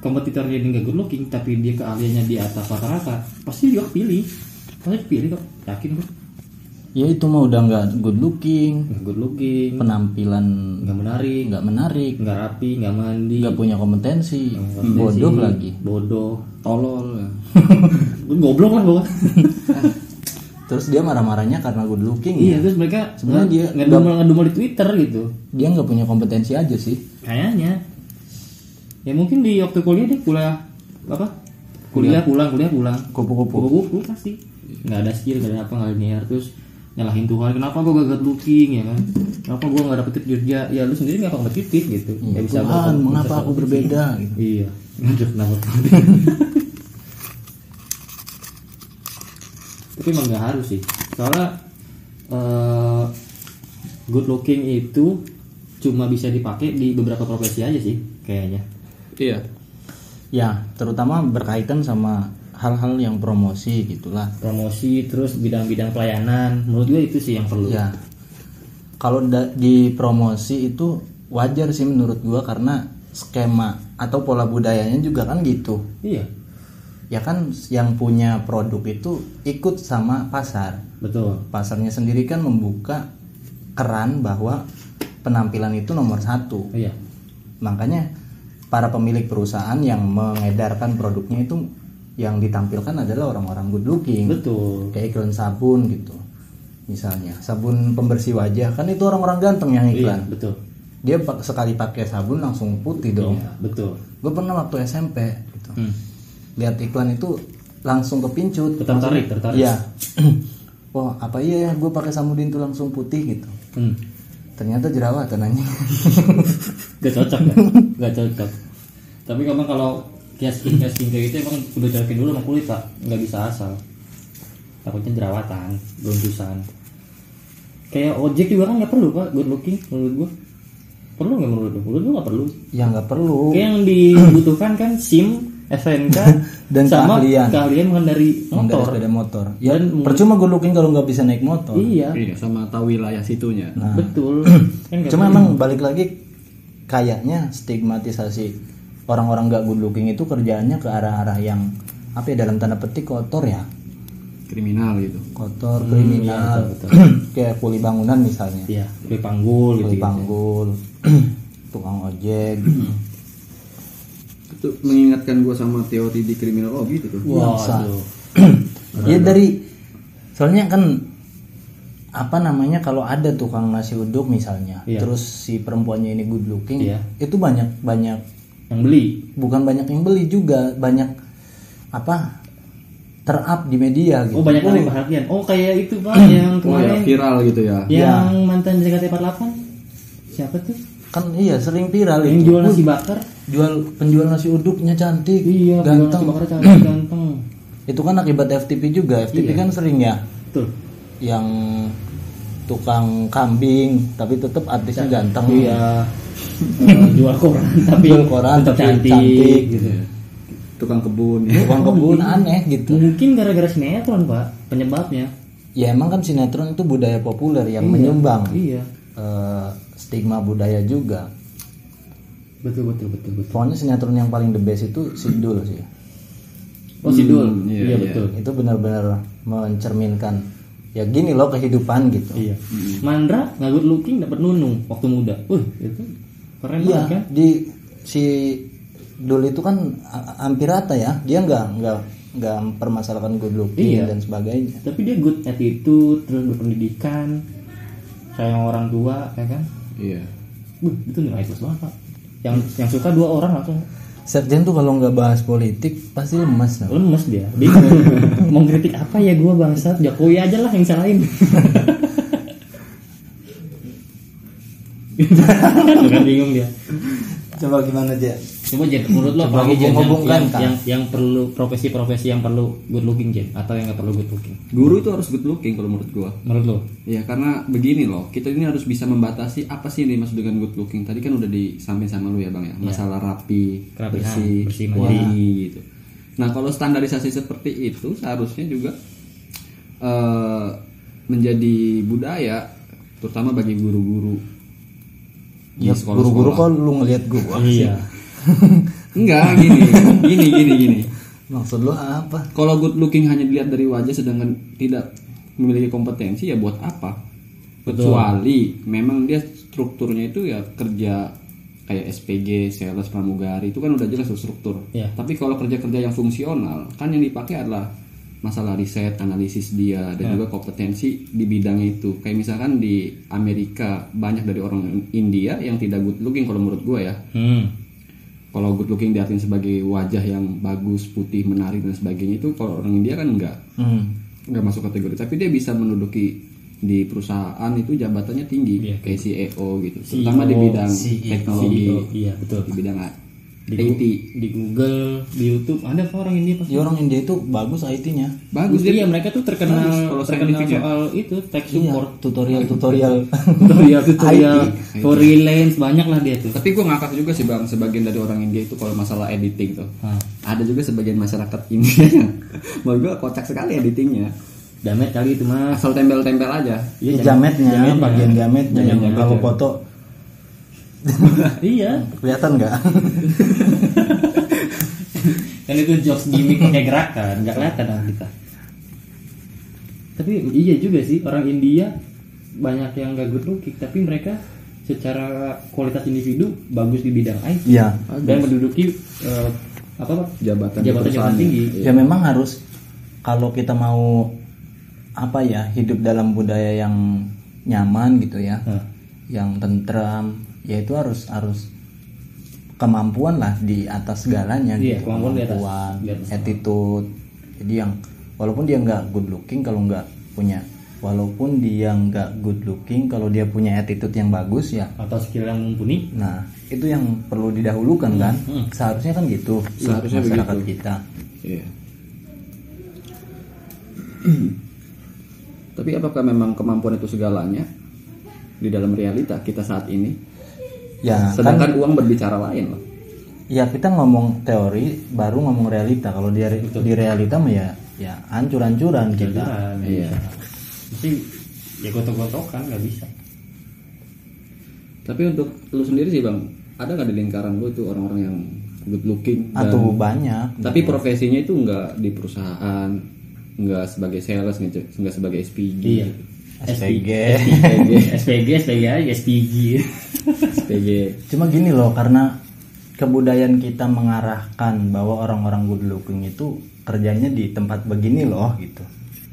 Speaker 2: kompetitornya ini nggak good looking tapi dia keahliannya di atas rata-rata, pasti dia pilih. Pasti pilih kok, yakin kok.
Speaker 3: Ya itu mah udah nggak good looking,
Speaker 2: Nggak good looking,
Speaker 3: penampilan
Speaker 2: nggak menarik,
Speaker 3: nggak menarik,
Speaker 2: nggak rapi, nggak mandi,
Speaker 3: nggak punya kompetensi,
Speaker 2: kompetensi.
Speaker 3: bodoh lagi.
Speaker 2: bodoh.
Speaker 4: tolol ya.
Speaker 2: Gue goblok lah gue.
Speaker 3: Terus dia marah-marahnya karena good looking.
Speaker 2: iya,
Speaker 3: ya.
Speaker 2: terus mereka
Speaker 3: Sebenarnya
Speaker 2: nge-
Speaker 3: dia-
Speaker 2: ngedumel ngedumel di Twitter gitu.
Speaker 3: Dia nggak punya kompetensi aja sih.
Speaker 2: Kayaknya. Ya mungkin di waktu kuliah dia kuliah apa?
Speaker 3: Iya.
Speaker 2: Kuliah pulang, kuliah pulang.
Speaker 3: Kupu-kupu.
Speaker 2: kupu-kupu pasti nggak ada skill nggak ada apa nggak linear terus nyalahin Tuhan kenapa gue gak good looking ya kan kenapa gue nggak dapet kerja ya lu sendiri nggak kompetitif gitu ya bisa
Speaker 3: Iya. Tuhan,
Speaker 2: berkom-
Speaker 3: mengapa
Speaker 2: bisa
Speaker 3: aku
Speaker 2: kompetisi.
Speaker 3: berbeda? Gitu.
Speaker 2: iya Aduh, kenapa tapi emang nggak harus sih soalnya eh, good looking itu cuma bisa dipakai di beberapa profesi aja sih kayaknya
Speaker 4: iya
Speaker 3: Ya, terutama berkaitan sama hal-hal yang promosi gitulah.
Speaker 2: promosi terus bidang-bidang pelayanan menurut gue itu sih yang perlu
Speaker 3: Ya, kalau da- di promosi itu wajar sih menurut gua karena skema atau pola budayanya juga kan gitu
Speaker 2: iya
Speaker 3: ya kan yang punya produk itu ikut sama pasar
Speaker 2: betul
Speaker 3: pasarnya sendiri kan membuka keran bahwa penampilan itu nomor satu
Speaker 2: iya
Speaker 3: makanya para pemilik perusahaan yang mengedarkan produknya itu yang ditampilkan adalah orang-orang good looking
Speaker 2: betul
Speaker 3: kayak iklan sabun gitu misalnya sabun pembersih wajah kan itu orang-orang ganteng yang
Speaker 2: iya
Speaker 3: iklan
Speaker 2: betul
Speaker 3: dia pak- sekali pakai sabun langsung putih dong
Speaker 2: Iya. betul
Speaker 3: gue pernah waktu SMP gitu lihat iklan itu langsung kepincut
Speaker 2: tertarik tertarik
Speaker 3: Iya. wah apa iya ya gue pakai samudin tuh langsung putih gitu
Speaker 2: hmm.
Speaker 3: ternyata jerawatan aja
Speaker 2: gak cocok ya gak cocok tapi emang kalau kias kias kayak gitu emang udah cocokin dulu sama kulit pak nggak bisa asal takutnya jerawatan gelundusan kayak ojek juga kan nggak perlu pak good looking menurut gua perlu nggak menurut lu menurut lu nggak perlu
Speaker 3: ya nggak perlu
Speaker 2: Kayak yang dibutuhkan kan SIM, SNK,
Speaker 3: Dan
Speaker 2: sama
Speaker 3: keahlian.
Speaker 2: mengendari
Speaker 3: mengendarai
Speaker 2: motor.
Speaker 3: sepeda motor ya
Speaker 2: Dan mungkin-
Speaker 3: percuma gue looking kalau nggak bisa naik motor
Speaker 2: Iya,
Speaker 4: Iya, Nah. sama tahu wilayah situnya.
Speaker 3: Ah.
Speaker 2: betul. Kan nggak
Speaker 3: cuma
Speaker 2: perlu.
Speaker 3: emang balik lagi kayaknya stigmatisasi orang-orang nggak good looking itu kerjaannya ke arah-arah yang apa ya dalam tanda petik kotor ya
Speaker 4: Kriminal gitu.
Speaker 3: kotor
Speaker 2: Hmm,
Speaker 3: kriminal kayak kuli bangunan misalnya
Speaker 2: iya, kulit panggul gitu.
Speaker 3: kuli panggul tukang ojek
Speaker 4: Itu mengingatkan gua sama teori di kriminologi itu tuh.
Speaker 2: Wah,
Speaker 3: Bangsa.
Speaker 2: aduh.
Speaker 3: ya dari soalnya kan apa namanya kalau ada tukang nasi uduk misalnya
Speaker 2: Iya.
Speaker 3: terus si perempuannya ini good looking
Speaker 2: Iya.
Speaker 3: itu banyak banyak
Speaker 2: yang beli.
Speaker 3: bukan banyak yang beli juga banyak apa terap di media gitu
Speaker 2: Oh, banyak kali perhatian. Oh, kayak itu Pak yang Iya.
Speaker 4: Oh ya,
Speaker 2: kemarin
Speaker 4: viral gitu ya.
Speaker 2: yang mantan JKT48. Siapa tuh?
Speaker 3: kan iya sering viral
Speaker 2: Yang
Speaker 3: itu
Speaker 2: jual nasi bakar.
Speaker 3: jual penjual nasi uduknya cantik
Speaker 2: Iya, jual nasi
Speaker 3: ganteng
Speaker 2: bakar cantik ganteng.
Speaker 3: itu kan akibat FTP juga
Speaker 2: Iya.
Speaker 3: FTP kan sering ya
Speaker 2: Betul.
Speaker 3: yang tukang kambing tapi tetap artisnya ganteng
Speaker 2: Iya. eh, jual koran tapi
Speaker 3: Jual koran
Speaker 2: tetap
Speaker 3: tapi
Speaker 2: cantik,
Speaker 3: cantik.
Speaker 2: gitu.
Speaker 4: Tukang kebun. ya.
Speaker 3: tukang kebun
Speaker 2: Iya.
Speaker 3: aneh gitu
Speaker 2: Mungkin gara-gara sinetron, Pak, penyebabnya.
Speaker 3: ya emang kan sinetron itu budaya populer yang menyumbang
Speaker 2: Iya.
Speaker 3: eh, stigma budaya juga
Speaker 2: Betul betul betul betul.
Speaker 3: pokoknya sinetron yang paling the best itu Sidul sih
Speaker 2: Oh, Sidul.
Speaker 4: Hmm,
Speaker 2: iya,
Speaker 4: iya, iya.
Speaker 2: betul.
Speaker 3: itu benar-benar mencerminkan ya gini loh kehidupan gitu
Speaker 2: Iya.
Speaker 4: Hmm.
Speaker 2: Mandra nggak good looking dapat nunung waktu muda. Wih, itu keren
Speaker 3: Iya,
Speaker 2: banget kan?
Speaker 3: di si Dul itu kan ha- hampir rata ya dia nggak nggak nggak mempermasalahkan good looking dan sebagainya
Speaker 2: Tapi dia good attitude, terus berpendidikan, sayang orang tua, ya kan?
Speaker 4: Iya.
Speaker 2: Wih, itu nilai plus banget, Pak. Yang yang suka dua orang langsung
Speaker 3: Serjen tuh kalau nggak bahas politik pasti lemas loh.
Speaker 2: lemes dia. Bingung. Mau kritik apa ya gua bangsat? Jokowi aja lah yang salahin. Kan bingung dia.
Speaker 3: coba gimana aja
Speaker 2: Coba Jen, menurut lo
Speaker 3: Coba
Speaker 2: apalagi Jen, yang,
Speaker 3: hubung-hubungkan,
Speaker 2: yang,
Speaker 3: Kak.
Speaker 2: yang, yang perlu profesi-profesi yang perlu good looking Jen atau yang nggak perlu good looking?
Speaker 4: Guru itu harus good looking kalau menurut gua.
Speaker 2: Menurut lo?
Speaker 4: Ya karena begini loh, kita ini harus bisa membatasi apa sih yang dimaksud dengan good looking. Tadi kan udah disampaikan sama lu ya bang ya, masalah rapi,
Speaker 2: Kerapihan,
Speaker 4: bersih,
Speaker 2: bersih,
Speaker 4: wangi gitu. Nah kalau standarisasi seperti itu seharusnya juga eh, menjadi budaya, terutama bagi guru-guru di
Speaker 3: ya guru-guru
Speaker 4: sekolah-sekolah.
Speaker 3: kok lu ngelihat gua
Speaker 2: Iya.
Speaker 4: Enggak gini, gini, gini, gini.
Speaker 3: maksud lu apa
Speaker 4: Kalau good looking hanya dilihat dari wajah sedangkan tidak memiliki kompetensi ya buat apa? Kecuali memang dia strukturnya itu ya kerja kayak SPG, sales, pramugari itu kan udah jelas tuh struktur.
Speaker 2: Iya.
Speaker 4: Tapi kalau kerja-kerja yang fungsional kan yang dipakai adalah masalah riset, analisis dia dan juga kompetensi di bidang itu. Kayak misalkan di Amerika banyak dari orang India yang tidak good looking kalau menurut gue ya
Speaker 2: Hmm.
Speaker 4: kalau good looking diartikan sebagai wajah yang bagus, putih, menarik dan sebagainya itu kalau orang India kan enggak
Speaker 3: hmm.
Speaker 4: enggak masuk kategori, tapi dia bisa menduduki di perusahaan itu jabatannya tinggi
Speaker 2: Iya. E
Speaker 4: kayak CEO gitu, terutama di bidang teknologi,
Speaker 2: CEO, iya betul.
Speaker 4: di bidang A-
Speaker 2: Di,
Speaker 4: IT.
Speaker 2: di Google, di YouTube ada kok orang India pasti.
Speaker 3: ya orang India itu bagus IT-nya
Speaker 4: Bagus dia.
Speaker 2: Iya, mereka tuh terkenal
Speaker 4: Bagus, kalau
Speaker 2: terkenal
Speaker 4: scientific ya. Iya,
Speaker 2: soal itu tech support,
Speaker 3: tutorial Iya. tutorial
Speaker 2: tutorial tutorial, freelance banyak lah dia tuh.
Speaker 4: Tapi gue ngakak juga sih bang, sebagian dari orang India itu kalau masalah editing tuh,
Speaker 2: Hah.
Speaker 4: ada juga sebagian masyarakat India yang menurut gue kocak sekali editingnya,
Speaker 2: Damet kali itu mas.
Speaker 4: asal tempel-tempel aja.
Speaker 3: ya, jametnya
Speaker 2: jamet,
Speaker 3: bagian
Speaker 2: ya.
Speaker 3: jametnya
Speaker 2: Jamet, jamet,
Speaker 3: kalau
Speaker 2: ya.
Speaker 3: foto
Speaker 2: iya
Speaker 3: Kelihatan nggak?
Speaker 2: kan itu jokes gimmick pakai gerakan nggak kelihatan sama kita tapi iya juga sih orang India banyak yang gak good looking tapi mereka secara kualitas individu bagus di bidang IT
Speaker 3: Iya.
Speaker 2: dan menduduki eh, apa Pak?
Speaker 4: Jabatan di
Speaker 2: jabatan jabatan
Speaker 4: perusahaan.
Speaker 2: tinggi
Speaker 3: Ya memang harus kalau kita mau apa ya hidup dalam budaya yang nyaman gitu ya,
Speaker 2: Hah.
Speaker 3: yang tentram, ya itu harus harus kemampuan lah di atas segalanya.
Speaker 2: Iya,
Speaker 3: gitu.
Speaker 2: kemampuan di atas.
Speaker 3: Kemampuan,
Speaker 2: Di atas.
Speaker 3: attitude. Jadi yang walaupun dia nggak good looking kalau nggak punya, walaupun dia nggak good looking kalau dia punya attitude yang bagus ya.
Speaker 2: atau skill yang mumpuni
Speaker 3: Nah itu yang perlu didahulukan kan?
Speaker 2: Hmm,
Speaker 3: Seharusnya kan gitu.
Speaker 4: Seharusnya
Speaker 3: masyarakat
Speaker 4: begitu.
Speaker 3: kita.
Speaker 4: Iya. Tapi apakah memang kemampuan itu segalanya di dalam realita kita saat ini?
Speaker 2: Nah,
Speaker 3: Ya, kan
Speaker 4: Sedangkan uang berbicara lain loh.
Speaker 3: ya kita ngomong teori baru ngomong realita kalau di di realita mah ya ya hancur-hancuran gitu. kita
Speaker 2: Nah,
Speaker 4: Iya.
Speaker 2: mesti ya gotok-gotokan nggak bisa
Speaker 4: Tapi untuk lu sendiri sih bang, ada nggak di lingkaran lu itu orang-orang yang good looking dan-
Speaker 3: atau banyak
Speaker 4: tapi profesinya itu nggak di perusahaan, nggak sebagai sales, nggak nggak sebagai SPG,
Speaker 2: iya
Speaker 3: SPG
Speaker 2: SPG SPG SPG aja SPG
Speaker 4: SPG.
Speaker 3: cuma gini loh karena kebudayaan kita mengarahkan bahwa orang-orang good looking itu kerjanya di tempat begini loh gitu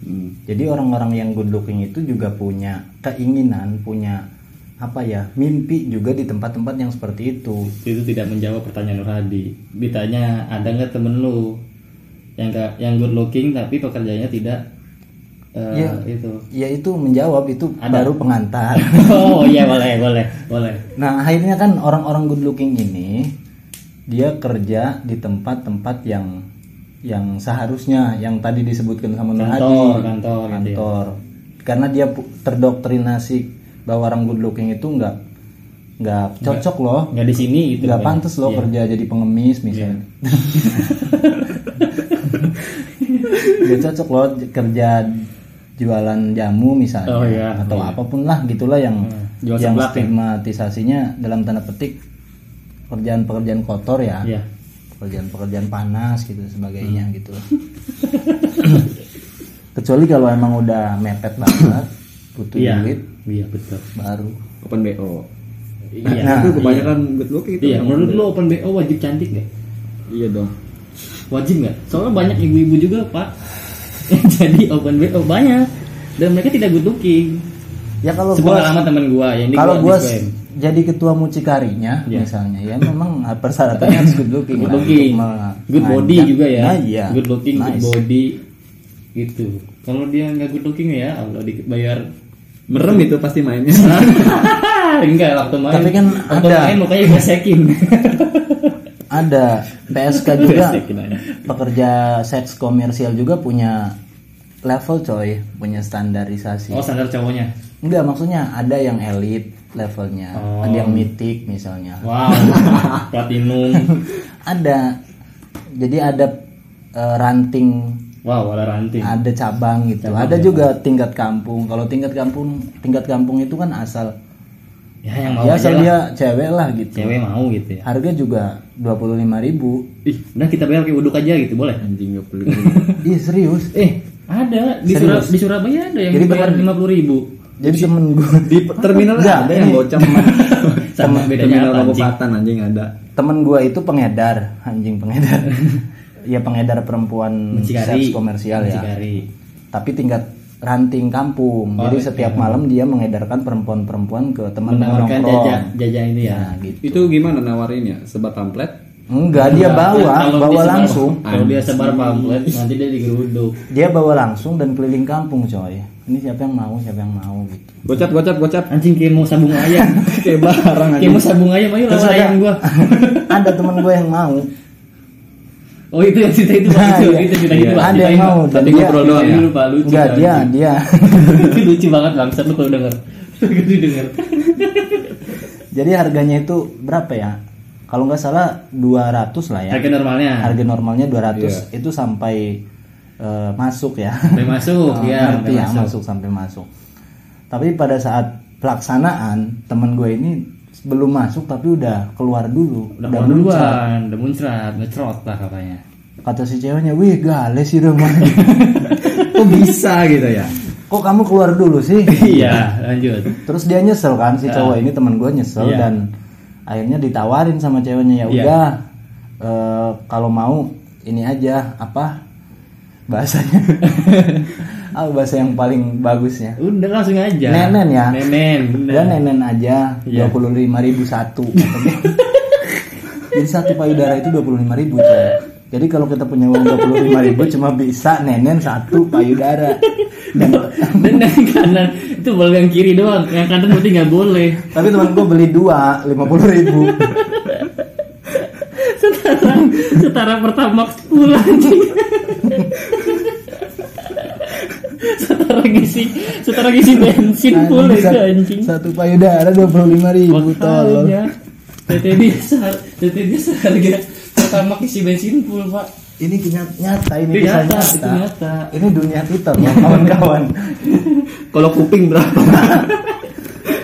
Speaker 4: Hmm.
Speaker 3: jadi orang-orang yang good looking itu juga punya keinginan punya apa ya mimpi juga di tempat-tempat yang seperti itu
Speaker 2: itu tidak menjawab pertanyaan Nur Hadi ditanya ada nggak temen lu yang nggak- yang good looking tapi pekerjaannya tidak eh,
Speaker 3: Iya.
Speaker 2: itu
Speaker 3: ya itu menjawab itu
Speaker 2: Ada.
Speaker 3: baru pengantar
Speaker 2: oh iya boleh boleh boleh
Speaker 3: Nah akhirnya kan orang-orang good looking ini dia kerja di tempat-tempat yang yang seharusnya yang tadi disebutkan sama Nur Hadi.
Speaker 2: Kantor, kantor gitu ya.
Speaker 3: kantor. Karena dia pu- terdoktrinasi bahwa orang good looking itu nggak nggak cocok loh,
Speaker 2: nggak di sini itu
Speaker 3: nggak pantas
Speaker 2: Iya.
Speaker 3: loh kerja jadi pengemis misalnya. nggak cocok loh j- kerja jualan jamu misalnya
Speaker 2: Oh, iya.
Speaker 3: atau
Speaker 2: Iya.
Speaker 3: apapun lah gitulah yang
Speaker 2: Jual
Speaker 3: yang
Speaker 2: seblak, ya.
Speaker 3: stigmatisasinya dalam tanda petik pekerjaan-pekerjaan kotor ya
Speaker 2: Iya. Hmm.
Speaker 3: pekerjaan-pekerjaan panas gitu sebagainya gitu kecuali kalau emang udah mepet banget butuh
Speaker 2: iya
Speaker 3: duit
Speaker 2: iya betul
Speaker 3: baru
Speaker 4: Open BO.
Speaker 2: iya
Speaker 3: Nah,
Speaker 4: itu kebanyakan good looking itu.
Speaker 2: iya
Speaker 4: Bang.
Speaker 2: menurut lo open bo wajib cantik nggak
Speaker 4: Iya dong.
Speaker 2: wajib nggak soalnya banyak ibu-ibu juga pak yang jadi open bo banyak dan mereka tidak good looking
Speaker 3: ya kalau
Speaker 2: sebuah
Speaker 3: gua
Speaker 2: alamat teman gua yang di
Speaker 3: kalau
Speaker 2: gua
Speaker 3: gua s- jadi ketua mucikarinya
Speaker 2: Iya.
Speaker 3: misalnya ya memang persyaratannya harus good looking
Speaker 2: good
Speaker 3: lah
Speaker 2: looking,
Speaker 3: untuk me-
Speaker 2: good body
Speaker 3: ngajak-
Speaker 2: juga ya,
Speaker 3: Nah, iya.
Speaker 2: good looking, good
Speaker 3: Nice.
Speaker 2: body, gitu. Kalau dia nggak good looking ya, Allah dibayar
Speaker 4: Merem itu pasti mainnya.
Speaker 2: Nah, enggak waktu main.
Speaker 3: Tapi kan
Speaker 2: waktu
Speaker 3: ada.
Speaker 2: main mukanya gesekin.
Speaker 3: ada PSK juga
Speaker 2: Gesekin aja.
Speaker 3: pekerja seks komersial juga punya level coy punya standarisasi
Speaker 2: oh standar cowoknya.
Speaker 3: enggak maksudnya ada yang elit levelnya
Speaker 2: Oh.
Speaker 3: ada yang mitik misalnya
Speaker 2: Wow, platinum.
Speaker 3: ada jadi ada eh, ranting
Speaker 2: Wow, ada ranting.
Speaker 3: ada cabang gitu ada juga tingkat kampung kalau tingkat kampung tingkat kampung itu kan asal
Speaker 2: Ya yang mau
Speaker 3: ya
Speaker 2: aja
Speaker 3: asal
Speaker 2: lah.
Speaker 3: dia cewek lah gitu
Speaker 2: Cewek mau gitu ya.
Speaker 3: harga juga 25.000 ribu
Speaker 2: Ih, udah kita bayar kayak uduk aja gitu boleh.
Speaker 4: Anjing gak perlu.
Speaker 3: ih serius
Speaker 2: Eh, ada di, Surab- di Surabaya ada yang
Speaker 3: Jadi
Speaker 2: bayar
Speaker 3: bener.
Speaker 2: lima puluh ribu.
Speaker 3: jadi temen gue
Speaker 4: Di terminal
Speaker 3: Nggak,
Speaker 4: ada yang
Speaker 3: ini-
Speaker 4: gocap.
Speaker 2: Sama bedanya
Speaker 4: terminal
Speaker 2: apa, anjing?
Speaker 4: kabupaten anjing ada.
Speaker 3: temen gue itu pengedar anjing pengedar ya pengedar perempuan
Speaker 2: Mencikari
Speaker 3: seks komersial ya
Speaker 2: Mencikari.
Speaker 3: tapi tingkat ranting kampung
Speaker 2: Oh,
Speaker 3: jadi
Speaker 2: iya.
Speaker 3: setiap malam dia mengedarkan perempuan-perempuan ke teman-teman
Speaker 2: menawarkan jajan
Speaker 3: nongkrong
Speaker 2: jajan ini ya.
Speaker 3: nah gitu
Speaker 4: Itu gimana nawarinnya? Sebat pamflet?
Speaker 3: enggak dia bawa
Speaker 2: Kalau
Speaker 3: bawa
Speaker 2: disebar-
Speaker 3: langsung
Speaker 2: Kalau dia sebar pamflet nanti dia digeruduk.
Speaker 3: dia bawa langsung dan keliling kampung coy ini siapa yang mau siapa yang mau gitu
Speaker 4: Gocap, gocap, gocap.
Speaker 2: Anjing kayak mau sabung ayam.
Speaker 4: Kayak barang
Speaker 2: kayak
Speaker 4: anjing.
Speaker 2: mau sabung ayam ayo lawan ayam gua.
Speaker 3: ada teman gue yang mau
Speaker 2: Oh itu yang cerita itu Pak.
Speaker 3: Nah,
Speaker 2: itu
Speaker 3: iya.
Speaker 2: itu cerita itu
Speaker 3: Iya.
Speaker 2: Pak.
Speaker 3: Ada yang
Speaker 2: gitu, Ceritain,
Speaker 3: mau,
Speaker 2: Pak.
Speaker 3: dan
Speaker 2: tapi
Speaker 3: dia- ya.
Speaker 2: ngobrol doang
Speaker 4: iya.
Speaker 2: dulu Pak lucu.
Speaker 3: enggak
Speaker 2: Pak.
Speaker 3: dia dia
Speaker 2: Itu lucu banget bangsa lu kalau denger. Kalau denger.
Speaker 3: jadi harganya itu berapa ya kalau nggak salah 200 lah ya
Speaker 2: Harga normalnya.
Speaker 3: harga normalnya 200 itu sampai eh, masuk ya
Speaker 2: Sampai masuk
Speaker 3: Eh,
Speaker 2: ya.
Speaker 3: ngerti
Speaker 2: sampai
Speaker 3: ya,
Speaker 2: masuk.
Speaker 3: masuk sampai masuk tapi pada saat pelaksanaan temen gue ini belum masuk tapi udah keluar dulu
Speaker 2: udah keluar duluan udah muncrat ngecrot lah katanya
Speaker 3: kata si ceweknya wih gale sih rumah
Speaker 4: kok bisa gitu ya
Speaker 3: kok kamu keluar dulu sih
Speaker 2: iya lanjut
Speaker 3: terus dia nyesel kan si cowok ini teman gue nyesel
Speaker 2: Iya.
Speaker 3: dan akhirnya ditawarin sama ceweknya ya udah eh, kalau mau ini aja apa bahasanya ah bahasa yang paling bagusnya
Speaker 2: udah langsung aja
Speaker 3: Nenen ya?
Speaker 2: nenen bener.
Speaker 3: udah nenen aja
Speaker 2: Iya.
Speaker 3: dua puluh lima ribu satu katanya. jadi satu payudara itu dua puluh lima ribu jadi kalau kita punya uang dua puluh lima ribu cuma bisa nenen satu payudara Dan-
Speaker 2: dan dari kanan itu boleh yang kiri doang yang kanan berarti nggak boleh
Speaker 3: tapi teman gue beli dua lima puluh ribu
Speaker 2: setara setara pertama sepuluh anjing setara ngisi setara ngisi bensin
Speaker 3: Nah,
Speaker 2: pula itu
Speaker 3: sat-
Speaker 2: anjing
Speaker 3: Satu payudara dua puluh lima ribu tolol.
Speaker 2: makanya TT dia sehar- TT dia seharga pertama isi bensin full pak
Speaker 3: Ini kenyataan nyata, ini
Speaker 2: Ini
Speaker 3: kisah
Speaker 2: nyata,
Speaker 3: nyata.
Speaker 2: itu nyata.
Speaker 3: Ini dunia kita loh, kawan-kawan.
Speaker 4: kalau kuping berapa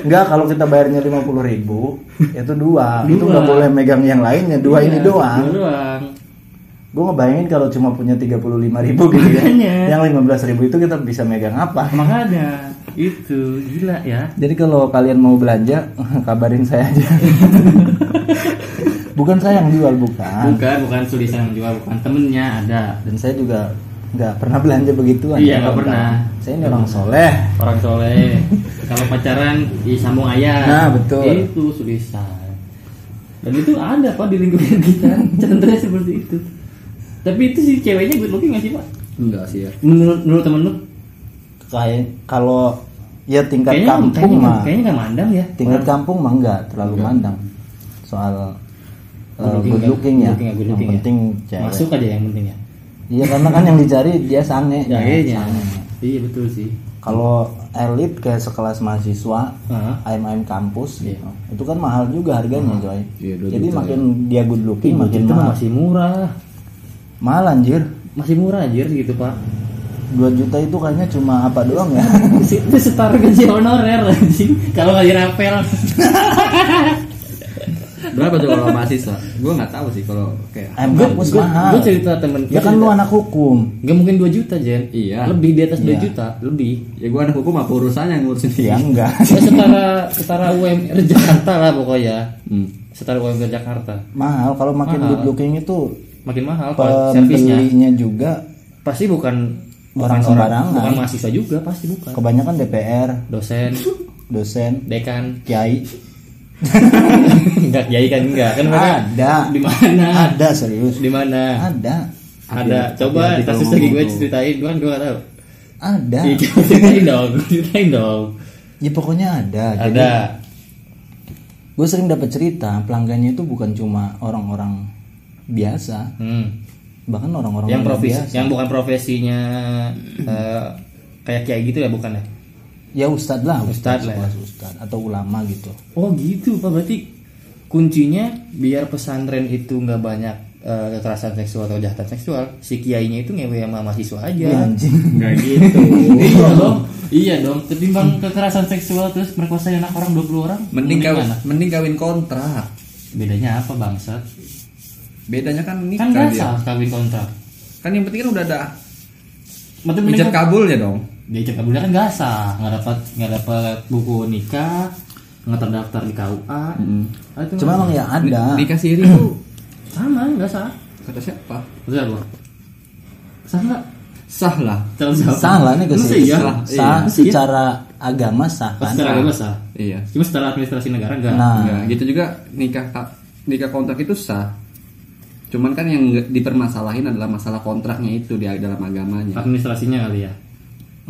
Speaker 3: Enggak, kalau kita bayarnya lima puluh ribu, itu dua. Itu
Speaker 2: Dua.
Speaker 3: nggak boleh megang yang lainnya, dua ini
Speaker 2: Iya,
Speaker 3: doang.
Speaker 2: dua doang
Speaker 3: Gue ngebayangin kalau cuma punya tiga puluh lima ribu gitu ya.
Speaker 2: Makanya.
Speaker 3: Yang lima belas ribu itu kita bisa megang apa?
Speaker 2: makanya itu gila ya
Speaker 3: Jadi kalau kalian mau belanja, kabarin saya aja. bukan saya yang jual, bukan.
Speaker 2: bukan bukan tulisan yang jual bukan temennya ada
Speaker 3: dan saya juga nggak pernah belanja begituan
Speaker 2: Iya,
Speaker 3: Ya,
Speaker 2: nggak
Speaker 3: kawan-kawan.
Speaker 2: pernah.
Speaker 3: saya ini orang soleh
Speaker 2: orang soleh kalau pacaran di sambung ayam
Speaker 3: Nah, betul.
Speaker 2: itu tulisan dan itu ada pak di lingkungan kita contohnya seperti itu tapi itu si ceweknya good looking nggak sih pak
Speaker 4: enggak sih ya
Speaker 2: menurut menurut temen lu
Speaker 3: kayak kalau ya tingkat
Speaker 2: kayaknya
Speaker 3: kampung
Speaker 2: kayaknya,
Speaker 3: mah
Speaker 2: kayaknya nggak mandang ya
Speaker 3: tingkat
Speaker 2: Orang-
Speaker 3: kampung mah nggak terlalu mandang soal eh,
Speaker 2: Good looking kan?
Speaker 3: good looking ya
Speaker 2: Good looking ya, good looking
Speaker 3: yang
Speaker 2: ya.
Speaker 3: penting cewek
Speaker 2: masuk aja yang penting ya
Speaker 3: iya karena kan yang dicari dia sange
Speaker 2: ya kayaknya
Speaker 3: Sange.
Speaker 2: iya betul sih
Speaker 3: kalau elit kayak sekelas mahasiswa
Speaker 2: Heeh.
Speaker 3: aim aim kampus
Speaker 2: Iya.
Speaker 3: gitu. itu kan mahal juga harganya coy
Speaker 4: Iya, dua
Speaker 3: jadi
Speaker 4: juta,
Speaker 3: makin dia good looking
Speaker 2: itu
Speaker 3: makin
Speaker 2: Iya, mah
Speaker 3: mahal
Speaker 2: masih murah
Speaker 3: mahal anjir
Speaker 2: masih murah anjir gitu pak
Speaker 3: 2 juta itu kayaknya cuma apa doang ya
Speaker 2: itu setara gaji honorer anjing kalau gaji rapel
Speaker 4: berapa tuh kalau mahasiswa gue nggak tahu sih kalau kayak
Speaker 3: Ayam
Speaker 2: Gua-
Speaker 3: kampus
Speaker 2: gua-
Speaker 3: mahal.
Speaker 2: gua cerita temen-
Speaker 3: Ya
Speaker 2: gua
Speaker 3: kan
Speaker 2: cerita.
Speaker 3: lu anak hukum.
Speaker 2: nggak mungkin 2 juta Jen
Speaker 4: Iya.
Speaker 2: lebih di atas 2
Speaker 3: Iya.
Speaker 2: juta lebih
Speaker 4: ya gue anak hukum apa urusannya yang ngurusin
Speaker 3: Ya
Speaker 4: dia
Speaker 3: enggak.
Speaker 2: ya setara setara UMR Jakarta lah pokoknya
Speaker 4: hmm.
Speaker 2: setara UMR Jakarta
Speaker 3: mahal kalau makin
Speaker 2: Mahal.
Speaker 3: good looking itu
Speaker 2: makin mahal pak servisnya
Speaker 3: pembelinya juga
Speaker 2: pasti bukan
Speaker 3: Orang
Speaker 2: bukan
Speaker 3: sembarangan.
Speaker 2: bukan mahasiswa juga pasti bukan
Speaker 3: kebanyakan DPR,
Speaker 2: dosen
Speaker 3: dosen,
Speaker 2: dekan
Speaker 3: kiai.
Speaker 2: enggak kiai kan enggak kan mereka
Speaker 3: Ada.
Speaker 2: di mana
Speaker 3: Ada serius.
Speaker 2: di mana
Speaker 3: Ada.
Speaker 2: ada
Speaker 4: Hati-hati,
Speaker 2: coba
Speaker 4: hati-hati
Speaker 2: kasus
Speaker 4: kalau
Speaker 2: lagi gue
Speaker 4: ngomong tuh.
Speaker 2: ceritain gue kan gue gak tahu
Speaker 3: Ada.
Speaker 2: Iya, ceritain dong ceritain dong
Speaker 3: Ya pokoknya ada. Jadi
Speaker 2: ada
Speaker 3: gue sering dapat cerita pelanggannya itu bukan cuma orang-orang biasa,
Speaker 2: hmm.
Speaker 3: bahkan orang-orang
Speaker 2: yang
Speaker 3: luar
Speaker 2: profesi
Speaker 3: biasa.
Speaker 2: yang bukan profesinya eh, kayak kiai gitu ya bukan ya
Speaker 3: Ya ustadz lah,
Speaker 2: Ustadz lah ya.
Speaker 3: sekelas ustadz atau ulama gitu.
Speaker 2: oh gitu pak berarti kuncinya biar pesantren itu nggak banyak eh, kekerasan seksual atau kejahatan seksual si kiainya itu ngewe sama mahasiswa aja
Speaker 3: Ya, anjing.
Speaker 4: nggak gitu
Speaker 2: iya dong iya dong ketimbang kekerasan seksual terus merkosa anak orang 20 orang
Speaker 4: mending kawin
Speaker 2: mana?
Speaker 4: mending kawin kontrak
Speaker 2: bedanya apa bangsat
Speaker 4: bedanya kan
Speaker 2: kan
Speaker 4: nikah
Speaker 2: gak
Speaker 4: dia
Speaker 2: sah kawin kontrak
Speaker 4: kan yang penting kan udah ada
Speaker 2: Maksudnya mending
Speaker 4: ijab kabulnya dong
Speaker 2: dia cek kabulnya kan nggak sah nggak dapat nggak dapat buku nikah nggak terdaftar di KUA Ah, itu
Speaker 3: Cuma emang ya
Speaker 2: Ah.
Speaker 3: ada.
Speaker 4: nikah siri tuh
Speaker 2: sama nggak sah
Speaker 4: kata siapa
Speaker 2: Maksudnya apa sah nggak
Speaker 4: sah lah
Speaker 2: Terus apa?
Speaker 3: salah nih ke
Speaker 2: Masa
Speaker 3: sih
Speaker 2: iya?
Speaker 3: sah,
Speaker 2: Iya.
Speaker 3: sah
Speaker 2: Masa iya?
Speaker 3: secara agama sah kan
Speaker 2: secara agama sah
Speaker 4: iya
Speaker 2: cuma secara administrasi negara enggak
Speaker 3: nah
Speaker 4: Nggak, gitu juga nikah ka- nikah kontrak itu sah cuman kan yang nggak- dipermasalahin adalah masalah kontraknya itu di dalam agamanya
Speaker 2: administrasinya kali ya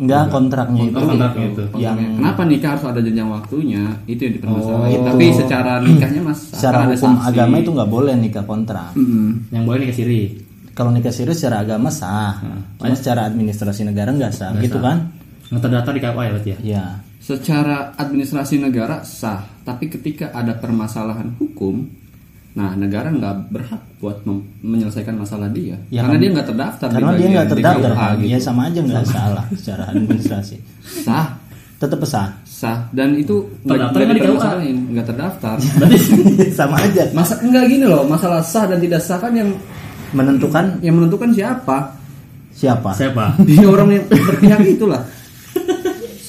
Speaker 3: enggak kontraknya itu
Speaker 2: Ah, Kontrak- gitu. kontraknya itu
Speaker 3: yang
Speaker 4: Gitu. Kontraknya. kenapa nikah harus ada jenjang waktunya itu yang dipermasalahin tapi secara nikahnya mas
Speaker 3: Oh. secara
Speaker 4: akan ada
Speaker 3: hukum
Speaker 4: sanksi.
Speaker 3: agama itu nggak boleh nikah kontrak
Speaker 4: Mm-mm.
Speaker 2: yang boleh nikah siri
Speaker 3: kalau nikah serius secara agama sah
Speaker 4: Hmm. Iya.
Speaker 3: cuma secara administrasi negara nggak sah gitu kan
Speaker 2: nggak terdaftar di KUA ya berarti ya
Speaker 3: ya
Speaker 4: secara administrasi negara sah tapi ketika ada permasalahan hukum nah negara nggak berhak buat mem- menyelesaikan masalah dia
Speaker 3: Ya,
Speaker 4: karena
Speaker 3: kan-
Speaker 4: dia nggak terdaftar di
Speaker 3: karena dia
Speaker 4: bagian-
Speaker 3: nggak
Speaker 4: di
Speaker 3: terdaftar
Speaker 4: KUA
Speaker 3: kan
Speaker 4: gitu.
Speaker 3: ya sama aja nggak salah secara administrasi
Speaker 4: sah
Speaker 3: tetap pesah
Speaker 4: sah dan itu
Speaker 2: Terdaftar
Speaker 4: nggak
Speaker 2: nggak di KUA?
Speaker 4: dipermasalahin. nggak terdaftar
Speaker 2: berarti
Speaker 3: sama aja
Speaker 4: masa enggak gini loh masalah sah dan tidak sah kan yang
Speaker 3: menentukan
Speaker 4: yang menentukan siapa
Speaker 3: siapa
Speaker 2: siapa
Speaker 4: dia orang yang berpihak itulah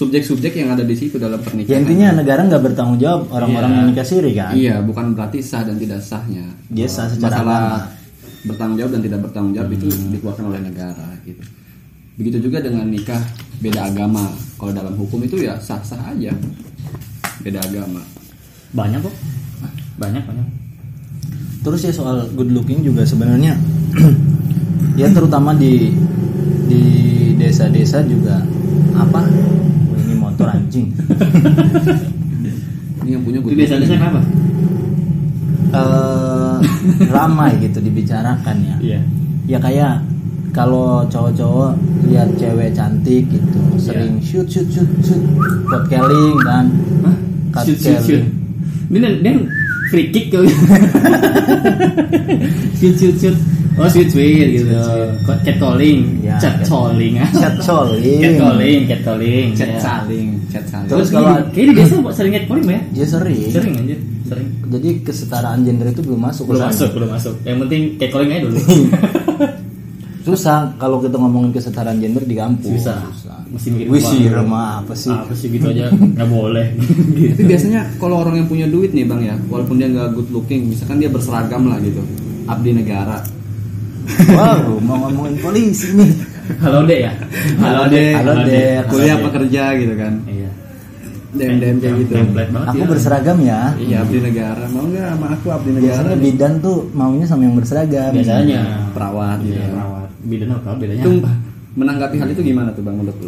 Speaker 4: subjek-subjek yang ada di situ dalam
Speaker 3: ya
Speaker 4: pernikahan
Speaker 3: intinya negara nggak bertanggung jawab orang-orang
Speaker 4: Iya.
Speaker 3: yang nikah siri kan
Speaker 4: Iya, bukan berarti sah dan tidak sahnya.
Speaker 3: Dia sah secara Hmm.
Speaker 4: Masalah
Speaker 3: agama.
Speaker 4: bertanggung jawab dan tidak bertanggung jawab itu dikeluarkan oleh negara gitu. Begitu juga dengan nikah beda agama. Kalau dalam hukum itu ya sah-sah aja. Beda agama.
Speaker 2: banyak kok banyak banyak
Speaker 3: terus ya soal good looking juga sebenarnya ya terutama di di desa-desa juga apa Wah, ini motor anjing
Speaker 4: Ini yang punya
Speaker 2: itu
Speaker 4: good
Speaker 2: biasa biasa
Speaker 4: looking.
Speaker 2: kenapa
Speaker 3: Eh, ramai gitu dibicarakan ya
Speaker 2: iya
Speaker 3: ya kayak kalau cowok-cowok lihat cewek cantik gitu
Speaker 2: Iya.
Speaker 3: sering shoot shoot shoot shoot buat keling kan
Speaker 2: Hah?
Speaker 3: Cut
Speaker 2: shoot shoot
Speaker 3: Kelly.
Speaker 2: shoot ini dan dan free kick kali shoot shoot shoot oh shoot shoot gitu cat calling
Speaker 3: Iya,
Speaker 2: cat calling
Speaker 3: chat
Speaker 2: cat
Speaker 3: calling
Speaker 2: calling cat calling iya.
Speaker 4: Chat saling, chat saling.
Speaker 3: Terus
Speaker 2: terus
Speaker 3: kalau-
Speaker 2: kalau kayak di desa sering cat calling ya
Speaker 3: dia Iya, sering
Speaker 2: sering anjir sering
Speaker 3: jadi kesetaraan gender itu belum masuk
Speaker 2: belum
Speaker 3: ke sana.
Speaker 2: masuk belum masuk yang penting cat calling aja dulu
Speaker 3: susah kalau kita ngomongin kesetaraan gender di kampung
Speaker 2: susah mesti mikir
Speaker 3: wih
Speaker 2: keluar.
Speaker 3: sih remah apa sih
Speaker 2: apa sih gitu aja nggak boleh
Speaker 4: Tapi biasanya kalau orang yang punya duit nih bang ya, walaupun dia nggak good looking, misalkan dia berseragam lah gitu, abdi negara.
Speaker 3: wow mau ngomongin polisi nih
Speaker 2: halo deh ya
Speaker 4: Halo deh,
Speaker 3: Halo,
Speaker 2: Halo,
Speaker 3: Dek.
Speaker 2: Dek.
Speaker 3: Halo,
Speaker 4: kuliah
Speaker 2: Dek.
Speaker 4: apa kerja gitu kan?
Speaker 2: iya
Speaker 4: Dem dem kayak gitu.
Speaker 2: template banget
Speaker 3: aku
Speaker 2: ya.
Speaker 3: berseragam ya
Speaker 4: Iya abdi negara, mau nggak sama aku abdi negara?
Speaker 3: biasanya bidan tuh maunya sama yang berseragam
Speaker 2: Iya. biasanya
Speaker 4: Perawat gitu.
Speaker 2: iya perawat bidan apa bedanya
Speaker 4: Itu menanggapi hal itu gimana tuh bang menurut lu?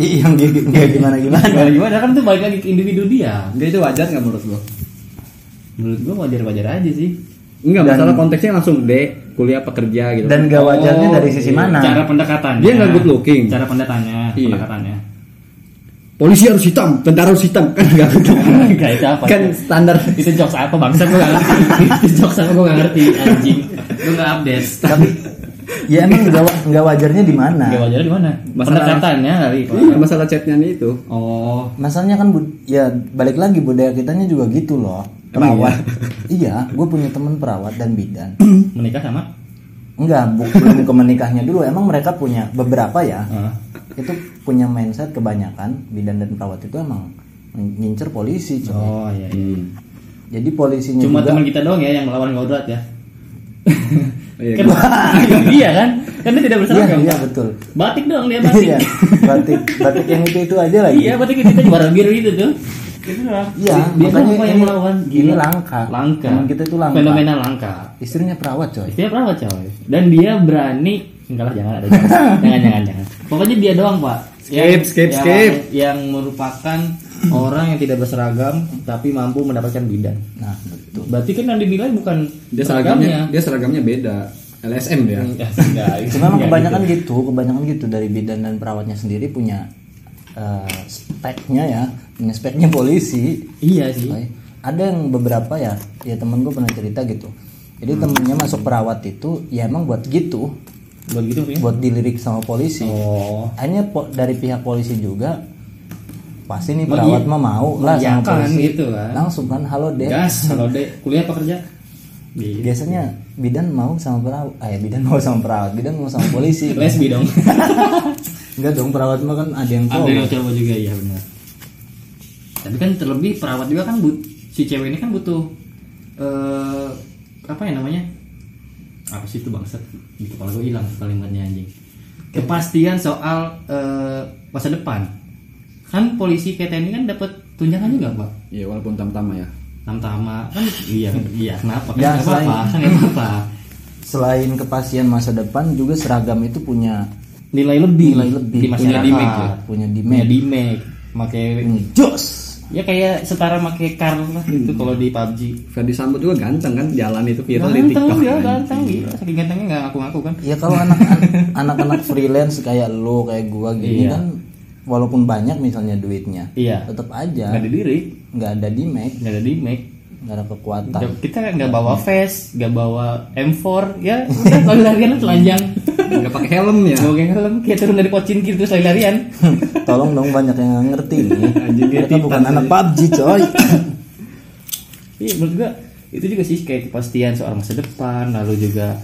Speaker 3: Ih, Iya, yang gimana gimana
Speaker 2: gimana gimana kan itu balik lagi ke individu dia
Speaker 4: Dia itu wajar nggak menurut lu?
Speaker 2: menurut gua wajar wajar aja sih
Speaker 4: Enggak,
Speaker 3: Dan-
Speaker 4: masalah konteksnya langsung D, kuliah apa kerja gitu.
Speaker 3: dan gak Ya, wajarnya
Speaker 4: Oh,
Speaker 3: dari sisi mana
Speaker 2: iya. cara pendekatannya
Speaker 4: Dia nggak good looking.
Speaker 2: cara pendekatannya
Speaker 4: Iya.
Speaker 2: pendekatannya
Speaker 4: Polisi harus hitam, tentara harus hitam kan nggak gitu.
Speaker 2: Nggak, itu apa
Speaker 4: kan
Speaker 2: itu?
Speaker 4: standar
Speaker 2: itu jokes apa bangsa gua nggak ngerti itu jokes apa gua nggak ngerti anjing gua nggak update
Speaker 3: tapi ya emang gak, wa- gak wajarnya di mana
Speaker 2: nggak wajar di mana
Speaker 4: Masalah-
Speaker 2: pendekatannya ya, kali Pak.
Speaker 4: Iya, masalah chatnya nih itu.
Speaker 2: oh
Speaker 3: masalahnya kan bud- ya balik lagi budaya kitanya juga gitu loh
Speaker 4: Emang
Speaker 3: perawat iya gue punya temen perawat dan bidan
Speaker 2: menikah sama
Speaker 3: enggak bu- belum ke menikahnya dulu emang mereka punya beberapa ya
Speaker 2: Ah.
Speaker 3: itu punya mindset kebanyakan bidan dan perawat itu emang ngincer polisi coy.
Speaker 2: oh iya, iya.
Speaker 3: jadi polisinya
Speaker 2: cuma
Speaker 3: juga
Speaker 2: teman kita doang ya yang melawan kodrat ya
Speaker 4: Iya,
Speaker 2: kan iya kan kan dia tidak
Speaker 3: iya
Speaker 2: berseragam
Speaker 3: iya betul
Speaker 2: batik doang dia batik
Speaker 3: iya batik batik yang itu itu aja lagi
Speaker 2: iya batik kita juara biru itu tuh Itu doang.
Speaker 3: Iya,
Speaker 2: dia
Speaker 3: makanya
Speaker 2: apa yang
Speaker 3: ini-
Speaker 2: melawan
Speaker 3: ini langka.
Speaker 2: langka
Speaker 3: Teman kita itu langka.
Speaker 2: fenomena langka
Speaker 3: istrinya perawat coy
Speaker 2: istilah perawat coy dan dia berani enggak lah jangan ada jangan jangan jangan, jangan. pokoknya dia doang pak
Speaker 4: Skip, skip, skip.
Speaker 2: yang merupakan orang yang tidak berseragam tapi mampu mendapatkan bidan
Speaker 3: nah betul
Speaker 2: berarti kan yang dibilang bukan
Speaker 4: Dia seragamnya, dia seragamnya beda. LSM dia.
Speaker 2: Ya, enggak, itu
Speaker 3: Cuma emang
Speaker 2: enggak
Speaker 3: kebanyakan gitu. kebanyakan gitu dari bidan dan perawatnya sendiri punya eh, speknya ya, punya speknya polisi.
Speaker 2: gitu. iya sih
Speaker 3: Soalnya Ada yang beberapa ya, ya temen gue pernah cerita gitu. Jadi temennya masuk perawat itu ya emang buat gitu,
Speaker 2: buat gitu maksudnya.
Speaker 3: buat dilirik sama polisi.
Speaker 2: oh
Speaker 3: Hanya po- dari pihak polisi juga pasti nih
Speaker 2: Magi-
Speaker 3: perawat mah mau lah sama
Speaker 2: mengiyakan
Speaker 3: polisi.
Speaker 2: gitu kan. Iya.
Speaker 3: Langsung kan halo deh.
Speaker 2: gas kalau dek kuliah apa kerja di
Speaker 3: Biasanya bidan mau sama perawat, ah ya bidan mau sama perawat, bidan mau sama polisi.
Speaker 2: lesbi dong
Speaker 3: Enggak dong perawat mah kan ada yang
Speaker 2: ada
Speaker 3: cowok.
Speaker 2: yang cowok juga iya benar tapi kan terlebih perawat juga kan but si cewek ini kan butuh eh apa ya namanya apa sih itu bangsat di kepala gue hilang kalimatnya anjing kepastian soal eh, masa depan kan polisi kayak TNI kan dapat tunjangan juga pak
Speaker 4: Iya, walaupun tam-tama ya.
Speaker 2: tama kan iya iya kenapa kan
Speaker 3: Ya,
Speaker 2: nggak apa-apa
Speaker 3: selain-
Speaker 2: kan nggak apa-apa
Speaker 3: selain kepastian masa depan juga seragam itu punya
Speaker 2: nilai lebih
Speaker 3: Nilai lebih.
Speaker 2: di masyarakat
Speaker 4: Punya damage ya?
Speaker 3: punya
Speaker 2: punya
Speaker 3: demand
Speaker 2: damage pakai
Speaker 3: punya jos
Speaker 2: ya kayak setara pakai car lah gitu kalau di PUBG
Speaker 4: Ferdi Sambo juga ganteng kan, jalan itu viral di
Speaker 2: ganteng
Speaker 4: TikTok.
Speaker 2: dia
Speaker 4: kan.
Speaker 2: ganteng gitu saking gantengnya nggak ngaku-ngaku kan
Speaker 3: ya kalau anak anak-anak freelance kayak lo kayak gua gini
Speaker 2: Iya.
Speaker 3: kan walaupun banyak misalnya duitnya
Speaker 2: Iya.
Speaker 3: tetap aja
Speaker 2: nggak ada diri
Speaker 3: nggak ada demand
Speaker 2: nggak ada di make
Speaker 3: nggak ada kekuatan
Speaker 4: Iya.
Speaker 2: ya. kita nggak bawa vest nggak bawa M4 ya udah kalau larian telanjang
Speaker 4: nggak pakai helm ya
Speaker 2: Gak pakai helm, kayak turun dari pocin gitu terus lari-larian.
Speaker 3: Tolong dong banyak yang nggak ngerti nih.
Speaker 4: Anjingnya
Speaker 3: Mereka bukan anak PUBG, coy.
Speaker 2: Iya menurut gua itu juga sih kayak kepastian soal masa depan lalu juga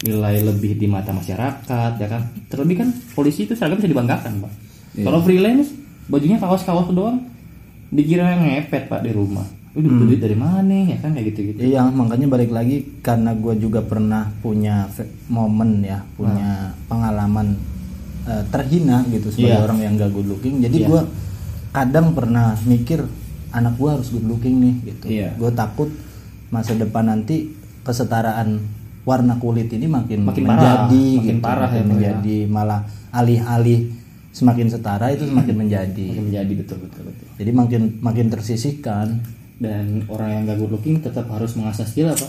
Speaker 2: nilai lebih di mata masyarakat ya kan terlebih kan polisi itu seragam bisa dibanggakan pak kalau freelance bajunya kaos-kaos doang dikira yang ngepet pak di rumah lu dapat duit dari mana ya kan kayak gitu gitu
Speaker 3: Iya, makanya balik lagi karena gue juga pernah punya fe- momen ya, punya
Speaker 2: Hmm.
Speaker 3: pengalaman eh, terhina gitu
Speaker 2: Iya.
Speaker 3: sebagai orang yang gak good looking. Jadi gue kadang pernah mikir anak gue harus good looking nih gitu.
Speaker 4: Iya.
Speaker 3: Gue takut masa depan nanti kesetaraan warna kulit ini makin
Speaker 2: Makin parah,
Speaker 3: menjadi,
Speaker 2: makin
Speaker 3: gitu,
Speaker 2: parah ya, Pak,
Speaker 3: makin
Speaker 2: ya.
Speaker 3: menjadi malah alih-alih semakin setara itu semakin menjadi.
Speaker 2: Hmm. Makin menjadi betul betul betul
Speaker 3: Jadi makin makin tersisihkan.
Speaker 2: dan orang yang gak good looking tetap harus mengasah skill pak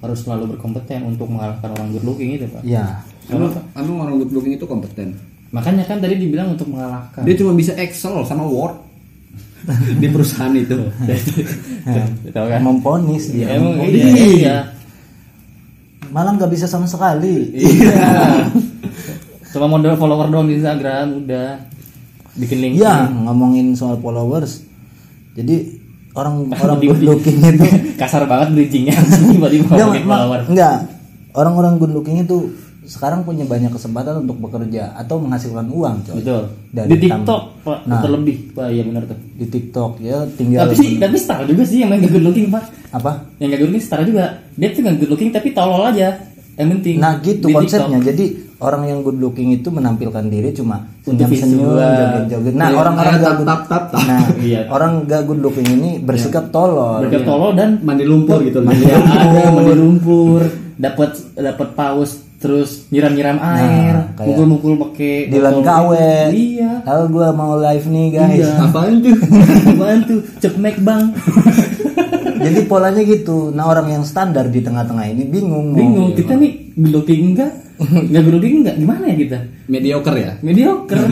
Speaker 2: harus selalu berkompeten untuk mengalahkan orang good looking itu pak
Speaker 3: Ya,
Speaker 4: emang, emang Anu, orang good looking itu kompeten
Speaker 2: makanya kan tadi dibilang untuk mengalahkan
Speaker 4: dia cuma bisa Excel sama Word di perusahaan itu
Speaker 2: tahu kan
Speaker 3: memponis dia.
Speaker 2: emang
Speaker 3: memponis.
Speaker 2: iya, iya.
Speaker 3: malah nggak bisa sama sekali
Speaker 2: Cuma modal follower doang di Instagram udah bikin link.
Speaker 3: iya ngomongin soal followers jadi orang orang
Speaker 2: Di-
Speaker 3: good looking itu
Speaker 2: Kasar banget bridgingnya tiba-tiba
Speaker 3: Nggak,
Speaker 2: ngomongin
Speaker 3: ma-
Speaker 2: follower.
Speaker 3: nggak. orang-orang good looking itu sekarang punya banyak kesempatan untuk bekerja atau menghasilkan uang coy
Speaker 2: Betul.
Speaker 3: Dari
Speaker 2: di
Speaker 3: tam- Nah.
Speaker 2: TikTok Pak, terlebih. Pak, iya benar tuh.
Speaker 3: di TikTok ya tinggal
Speaker 2: Tapi sih, tapi star juga sih yang main gak good looking, Pak.
Speaker 3: apa
Speaker 2: Yang gak good looking star juga. Dia tuh gak good looking tapi tolol aja. Yang penting.
Speaker 3: nah gitu
Speaker 2: di
Speaker 3: konsepnya jadi orang yang good looking itu menampilkan diri cuma senyum senyum
Speaker 2: visual.
Speaker 3: joget joget nah
Speaker 4: Kayak-
Speaker 3: orang-orang
Speaker 4: kayak
Speaker 3: gak
Speaker 4: tap,
Speaker 3: good
Speaker 4: tap, tap, tap.
Speaker 3: nah
Speaker 2: Iya.
Speaker 3: orang gak good looking ini bersikap tolol
Speaker 2: Berkat tolol dan
Speaker 4: mandi lumpur gitu loh
Speaker 2: mandi ada mandi lumpur, dapat dapat paus terus nyiram-nyiram air,
Speaker 3: kayak
Speaker 2: mukul-mukul pakai
Speaker 3: Dilan
Speaker 2: botol-
Speaker 3: KW.
Speaker 2: Iya.
Speaker 3: Halo gue mau live nih guys.
Speaker 2: Iya.
Speaker 4: apaan tuh
Speaker 2: Apaan tuh? Cekmek bang
Speaker 3: Jadi polanya gitu. Nah orang yang standar di tengah-tengah ini bingung. mau-
Speaker 2: Bingung, kita nih geloking enggak? Enggak geloking enggak? Gimana ya kita?
Speaker 4: mediocre ya
Speaker 2: Mediocre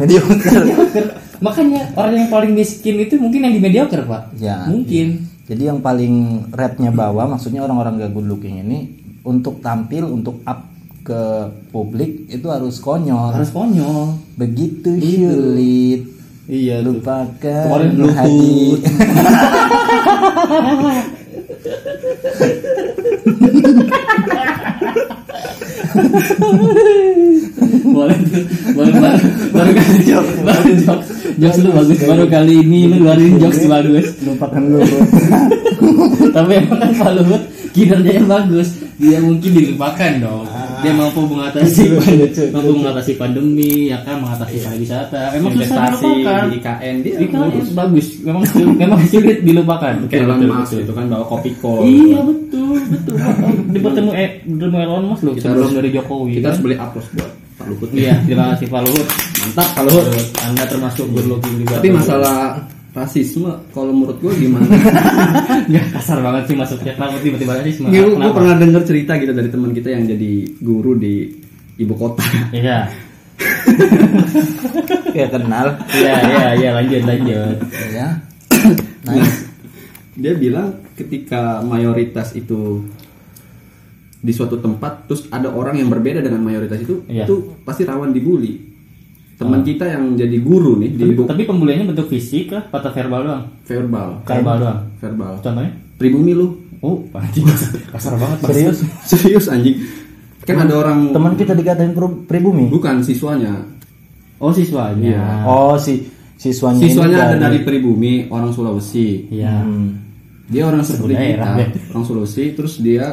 Speaker 3: Mediocre.
Speaker 2: Mediocre Makanya orang yang paling miskin itu mungkin yang di mediocre pak
Speaker 3: Ya,
Speaker 2: Mungkin
Speaker 3: Jadi yang paling rate-nya bawah, maksudnya orang-orang gak good looking ini untuk tampil untuk up ke publik itu harus konyol.
Speaker 2: Harus konyol
Speaker 3: Begitu sulit.
Speaker 2: Iya
Speaker 3: Lupakan
Speaker 2: Kemarin Bluetooth.
Speaker 3: hati.
Speaker 2: Boleh tuh. baru baru baru kali jokes baru jokes jokes lu bagus baru kali ini lu ngeluarin jokes bagus
Speaker 3: Lupakan lu.
Speaker 2: tapi emang kan Pak Luhut kinerjanya bagus dia mungkin dilupakan dong dia mampu mengatasi mampu mengatasi pandemi ya kan mengatasi pariwisata emang susah
Speaker 4: investasi
Speaker 2: dilupakan
Speaker 4: di IKN dia
Speaker 2: Ini kan bagus memang sulit, memang sulit dilupakan
Speaker 4: kayak Elon
Speaker 2: Betul,
Speaker 4: Musk
Speaker 2: betul.
Speaker 4: gitu kan bawa kopi kol
Speaker 2: iya betul betul di bertemu eh bertemu Elon Musk loh sebelum
Speaker 4: harus-
Speaker 2: dari Jokowi
Speaker 4: kita
Speaker 2: kan?
Speaker 4: harus beli aplos buat Pak Luhut
Speaker 2: iya terima kasih Pak Luhut
Speaker 4: mantap Pak
Speaker 2: Luhut
Speaker 4: Luhut
Speaker 2: anda termasuk good looking juga
Speaker 4: tapi
Speaker 2: Pak Luhut.
Speaker 4: masalah rasisme kalau menurut gue gimana
Speaker 2: Nggak, kasar banget sih masuknya kenapa tiba-tiba rasisme
Speaker 4: gue gue pernah denger cerita gitu dari teman kita yang jadi guru di ibu kota
Speaker 2: iya
Speaker 3: ya kenal.
Speaker 2: Iya, iya, iya, lanjut, lanjut.
Speaker 3: Ya. Nice.
Speaker 4: dia bilang ketika mayoritas itu di suatu tempat terus ada orang yang berbeda dengan mayoritas itu
Speaker 2: Iya. Ah.
Speaker 4: itu pasti rawan dibully teman kita yang jadi guru nih di
Speaker 2: Tapi,
Speaker 4: ibu
Speaker 2: tapi pembuliannya bentuk fisik lah, patah verbal doang.
Speaker 4: verbal
Speaker 2: Verbal doang.
Speaker 4: verbal
Speaker 2: Contohnya?
Speaker 4: pribumi lu
Speaker 2: Oh, anjing kasar, kasar banget. Bang.
Speaker 3: Serius.
Speaker 4: serius anjing kan ada orang
Speaker 3: Teman kita dikatain pri- pribumi.
Speaker 4: bukan siswanya
Speaker 2: Oh, siswanya.
Speaker 4: Iya.
Speaker 3: Oh si siswanya, ini
Speaker 4: siswanya ada dari pribumi orang Sulawesi
Speaker 2: Iya.
Speaker 3: Hmm.
Speaker 4: dia orang seperti
Speaker 2: Sebenarnya
Speaker 4: kita
Speaker 2: ya, Rabe.
Speaker 4: orang Sulawesi terus dia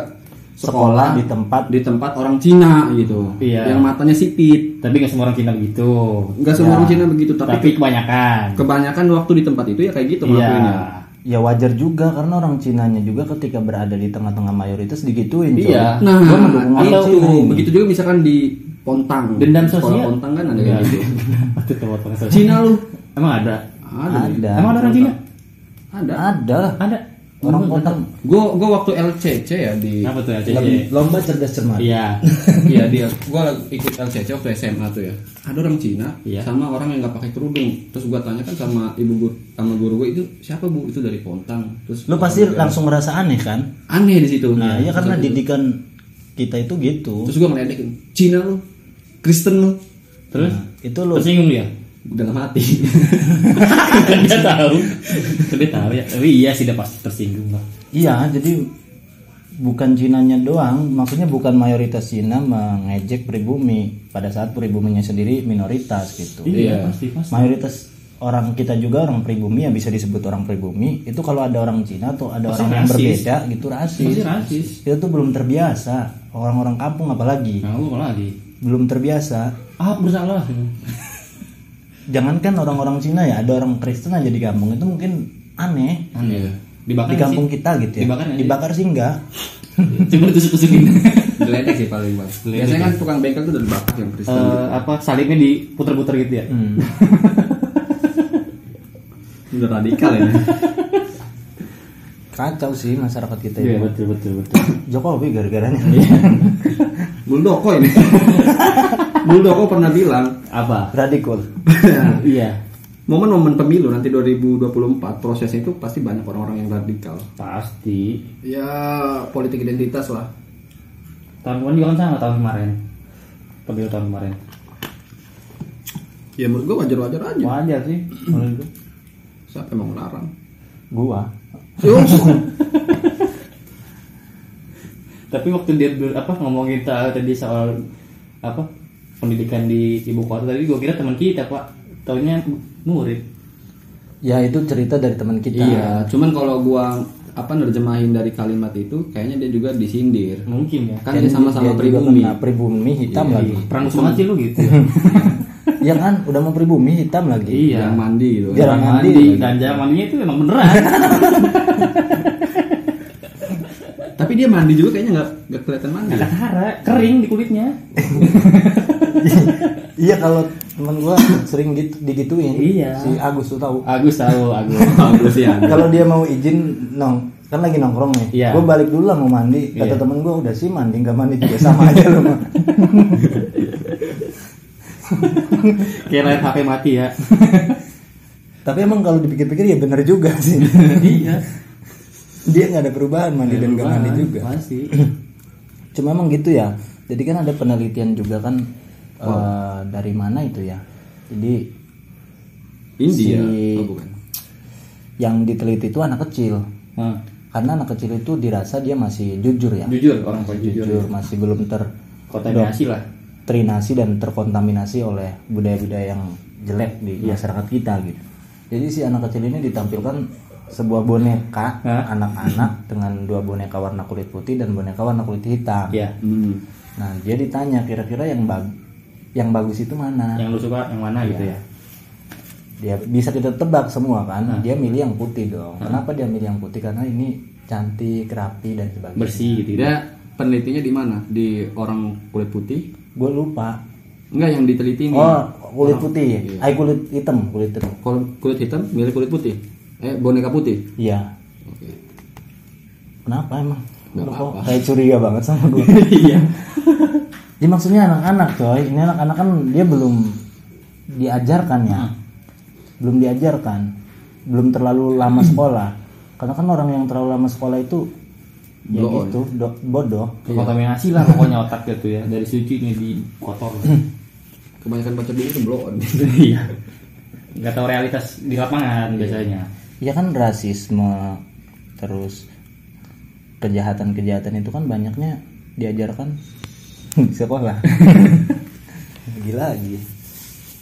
Speaker 3: sekolah
Speaker 4: sekolah
Speaker 3: di tempat
Speaker 4: di tempat orang Cina gitu
Speaker 2: Iya.
Speaker 4: yang matanya sipit
Speaker 2: Tapi nggak semua orang Cina begitu.
Speaker 4: nggak semua orang Cina begitu
Speaker 2: Tapi,
Speaker 4: tapi,
Speaker 2: kebanyakan.
Speaker 4: kebanyakan waktu di tempat itu ya kayak gitu
Speaker 2: Iya.
Speaker 4: ngelakuinnya
Speaker 3: ya wajar juga karena orang Cinanya juga ketika berada di tengah-tengah mayoritas digituin coy.
Speaker 2: Iya.
Speaker 4: nah
Speaker 3: Gua mendukung
Speaker 4: itu
Speaker 3: orang Cina ini.
Speaker 4: begitu juga misalkan di Pontang
Speaker 2: Dendam
Speaker 4: Sekolah
Speaker 2: sosial. Iya.
Speaker 4: Pontang kan ada kayak gitu
Speaker 2: Itu tempat pengesan.
Speaker 4: Cina lu
Speaker 2: Emang ada?
Speaker 4: ada
Speaker 3: Ada.
Speaker 2: Emang ada orang Cina?
Speaker 4: ada
Speaker 3: ada lah
Speaker 2: Ada.
Speaker 3: orang kontang
Speaker 4: gue gue waktu LCC ya di
Speaker 2: Apa tuh ya?
Speaker 3: Lem- lomba cerdas cermat
Speaker 2: Iya.
Speaker 4: iya dia gue ikut LCC waktu SMA tuh ya ada orang Cina
Speaker 2: Iya.
Speaker 4: sama orang yang nggak pakai kerudung terus gue tanya kan sama ibu guru sama guru gue itu siapa bu itu dari Pontang terus
Speaker 3: lu pasti langsung merasa aneh kan
Speaker 4: aneh di situ
Speaker 3: nah ya karena
Speaker 4: Terus-
Speaker 3: didikan kita itu gitu
Speaker 4: terus gue ngeledekin Cina lu Kristen lu
Speaker 2: Terus?
Speaker 3: itu lu
Speaker 2: Tersinggung dia?
Speaker 4: dalam hati
Speaker 2: Kan dia tahu. Kan dia tahu ya. Tapi iya sih dia pasti tersinggung lah.
Speaker 3: iya jadi bukan Cinanya doang maksudnya bukan mayoritas Cina mengejek pribumi pada saat pribuminya sendiri minoritas gitu
Speaker 2: Iya, pasti pasti.
Speaker 3: mayoritas orang kita juga orang pribumi yang bisa disebut orang pribumi itu kalau ada orang Cina atau ada orang yang
Speaker 2: rasis.
Speaker 3: berbeda gitu rasis
Speaker 2: Pasti rasis.
Speaker 3: itu tuh belum terbiasa orang-orang kampung apalagi
Speaker 2: Nah, lu lagi.
Speaker 3: belum terbiasa
Speaker 2: Ah, bersalah.
Speaker 3: jangankan orang-orang Cina ya ada orang Kristen aja di kampung itu mungkin aneh
Speaker 2: Aneh. Dibakar
Speaker 3: di kampung kita gitu ya
Speaker 2: Dibakar nggak sih?
Speaker 3: sih enggak
Speaker 2: Cuma ditusuk-tusukin.
Speaker 4: Diledek sih paling bang Biasanya kan tukang bengkel tuh udah dibakar yang Kristen
Speaker 3: Oh.
Speaker 2: Eh, apa salibnya diputer-puter gitu ya?
Speaker 3: Hmm.
Speaker 4: Udah radikal ya
Speaker 3: kacau sih masyarakat kita
Speaker 2: Iya,
Speaker 3: ini
Speaker 2: betul betul betul.
Speaker 3: Jokowi gara-garanya
Speaker 4: Muldoko ini Muldoko pernah bilang
Speaker 2: apa?
Speaker 3: radikal
Speaker 2: Iya.
Speaker 4: Momen-momen pemilu nanti 2024 prosesnya itu pasti banyak orang-orang yang radikal
Speaker 2: Pasti.
Speaker 4: Ya politik identitas lah
Speaker 2: Tahun kemarin juga kan sama tahun kemarin. Pemilu tahun kemarin.
Speaker 4: Ya menurut gue wajar-wajar aja
Speaker 2: Wajar sih. menurut gua.
Speaker 4: Siapa yang mau ngelarang
Speaker 3: gua
Speaker 2: Tapi waktu dia ber- apa ngomongin ta- tadi soal apa pendidikan di ibu kota tadi gua kira teman kita pak taunya murid
Speaker 3: ya itu cerita dari teman kita
Speaker 4: Iya Cuman kalau gua apa nerjemahin dari kalimat itu Kayaknya dia juga disindir
Speaker 2: mungkin ya
Speaker 4: Kan dia
Speaker 3: Dia
Speaker 4: sama-sama
Speaker 3: juga
Speaker 4: pribumi
Speaker 3: kena pribumi hitam lagi
Speaker 2: perang banget sih lu gitu
Speaker 3: ya kan udah mau pribumi hitam lagi
Speaker 2: iya
Speaker 4: Yang mandi gitu
Speaker 3: Dia-
Speaker 2: jarang
Speaker 3: Jarang
Speaker 2: mandi
Speaker 3: mandi.
Speaker 2: ganja mandinya itu emang beneran
Speaker 4: Tapi dia mandi juga kayaknya nggak nggak kelihatan mandi
Speaker 2: ada kara kering di kulitnya
Speaker 3: iya kalau temen gua sering gitu digituin
Speaker 2: Iya.
Speaker 3: si Agus tuh tahu
Speaker 2: Agus tahu Agus
Speaker 4: Bagus ya
Speaker 3: kalau dia mau izin nong kan lagi nongkrong nih
Speaker 2: Iya.
Speaker 3: gua balik dulu lah mau mandi kata
Speaker 2: Iya.
Speaker 3: temen gua udah sih mandi nggak mandi juga sama aja lu mah
Speaker 2: kayak layar HP mati ya
Speaker 3: tapi emang kalau dipikir-pikir ya bener juga sih
Speaker 2: iya
Speaker 3: dia nggak ada perubahan mandi dan nggak mandi juga
Speaker 2: pasti
Speaker 3: cuma emang gitu ya jadi kan ada penelitian juga kan eh, dari mana itu ya jadi
Speaker 4: India
Speaker 3: Si-
Speaker 4: Oh, bukan.
Speaker 3: yang diteliti itu anak kecil
Speaker 2: Nah,
Speaker 3: karena anak kecil itu dirasa dia masih jujur ya
Speaker 2: jujur orang paling jujur
Speaker 3: jujur masih belum
Speaker 2: kontaminasi lah
Speaker 3: tertrinasi dan terkontaminasi oleh budaya-budaya yang jelek di
Speaker 2: Iya.
Speaker 3: masyarakat kita gitu jadi si anak kecil ini ditampilkan sebuah boneka
Speaker 2: Hah?
Speaker 3: anak-anak dengan dua boneka warna kulit putih dan boneka warna kulit hitam
Speaker 2: ya
Speaker 4: Hmm.
Speaker 3: nah dia ditanya kira-kira yang bag yang bagus itu mana
Speaker 2: Ya, yang lu suka yang mana gitu ya
Speaker 3: dia bisa kita tebak semua kan dia milih yang putih dong kenapa dia milih yang putih karena ini cantik rapi dan sebagainya
Speaker 2: bersih gitu
Speaker 4: Tidak penelitinya di mana? Di orang kulit putih?
Speaker 3: gue lupa
Speaker 4: Enggak yang diteliti
Speaker 2: Iya.
Speaker 4: ini.
Speaker 3: oh kulit putih ay kulit hitam kulit hitam
Speaker 4: Kalau kulit hitam milih kulit putih. Eh boneka putih.
Speaker 3: iya
Speaker 4: Oke.
Speaker 3: kenapa emang
Speaker 4: Nggak
Speaker 3: Lu kok
Speaker 4: apa-apa.
Speaker 3: kayak curiga banget sama gue
Speaker 2: iya
Speaker 3: ya maksudnya anak-anak coy ini anak-anak kan dia belum diajarkan ya belum diajarkan belum terlalu lama sekolah karena kan orang yang terlalu lama sekolah itu ya gitu do- bodoh
Speaker 2: Iya. kontaminasi lah pokoknya otak gitu ya dari sucinya di kotor
Speaker 4: Kebanyakan baca buku itu blow on.
Speaker 2: iya nggak tahu realitas di lapangan biasanya
Speaker 3: Ya kan rasisme terus kejahatan-kejahatan itu kan banyaknya diajarkan di sekolah. Gila lagi.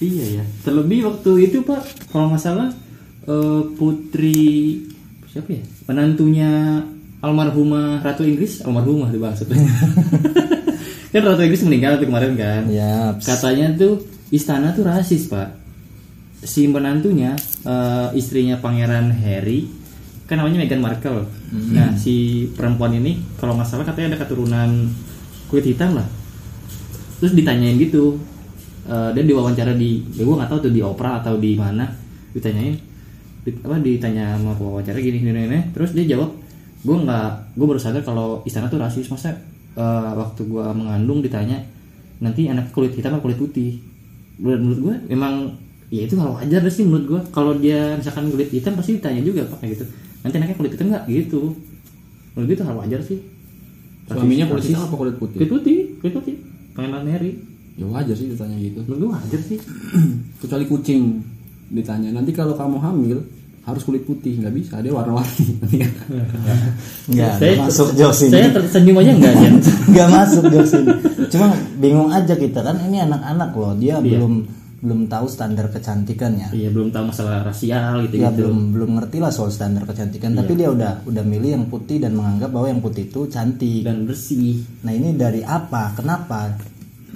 Speaker 2: iya ya terlebih waktu itu pak kalau nggak salah eh, putri siapa ya penantunya almarhumah ratu Inggris almarhumah tuh maksudnya kan ratu Inggris meninggal tuh kemarin kan
Speaker 3: Ya,
Speaker 2: katanya tuh istana tuh rasis pak si menantunya eh, istrinya pangeran Harry kan namanya Meghan Markle nah si perempuan ini kalau nggak salah katanya ada keturunan kulit hitam lah terus ditanyain gitu eh, dan diwawancara di ya gue nggak tahu tuh di opera atau di mana ditanyain di- apa ditanya sama pewawancara gini gini, gini. terus dia jawab gue nggak gue baru sadar kalau istana tuh rasis masa eh, waktu gue mengandung ditanya nanti anak kulit hitam atau kulit putih menurut, menurut gue emang ya itu hal wajar sih menurut gue kalau dia misalkan kulit hitam pasti ditanya juga apa kayak gitu nanti anaknya kulit hitam nggak gitu menurut gue itu hal wajar sih
Speaker 4: Suaminya kulit
Speaker 2: Rasis.
Speaker 4: hitam apa kulit putih?
Speaker 2: kulit putih kulit putih pangeran Harry
Speaker 4: ya wajar sih ditanya gitu
Speaker 2: Menurut gua wajar sih.
Speaker 4: kecuali kucing ditanya nanti kalau kamu hamil harus kulit putih nggak bisa dia warna-warni
Speaker 3: Nggak Iya, nggak Ya, masuk jokes ini.
Speaker 2: Saya tersenyum aja enggak ya?
Speaker 3: nggak masuk jokes ini. Cuma bingung aja kita kan ini anak-anak loh, dia belum belum tahu standar kecantikannya.
Speaker 2: Iya, belum tahu masalah rasial gitu Iya.
Speaker 3: Dia
Speaker 2: gitu.
Speaker 3: belum belum ngerti lah soal standar kecantikan, tapi dia udah udah milih yang putih dan menganggap bahwa yang putih itu cantik.
Speaker 2: Dan bersih.
Speaker 3: Nah, ini dari apa? Kenapa?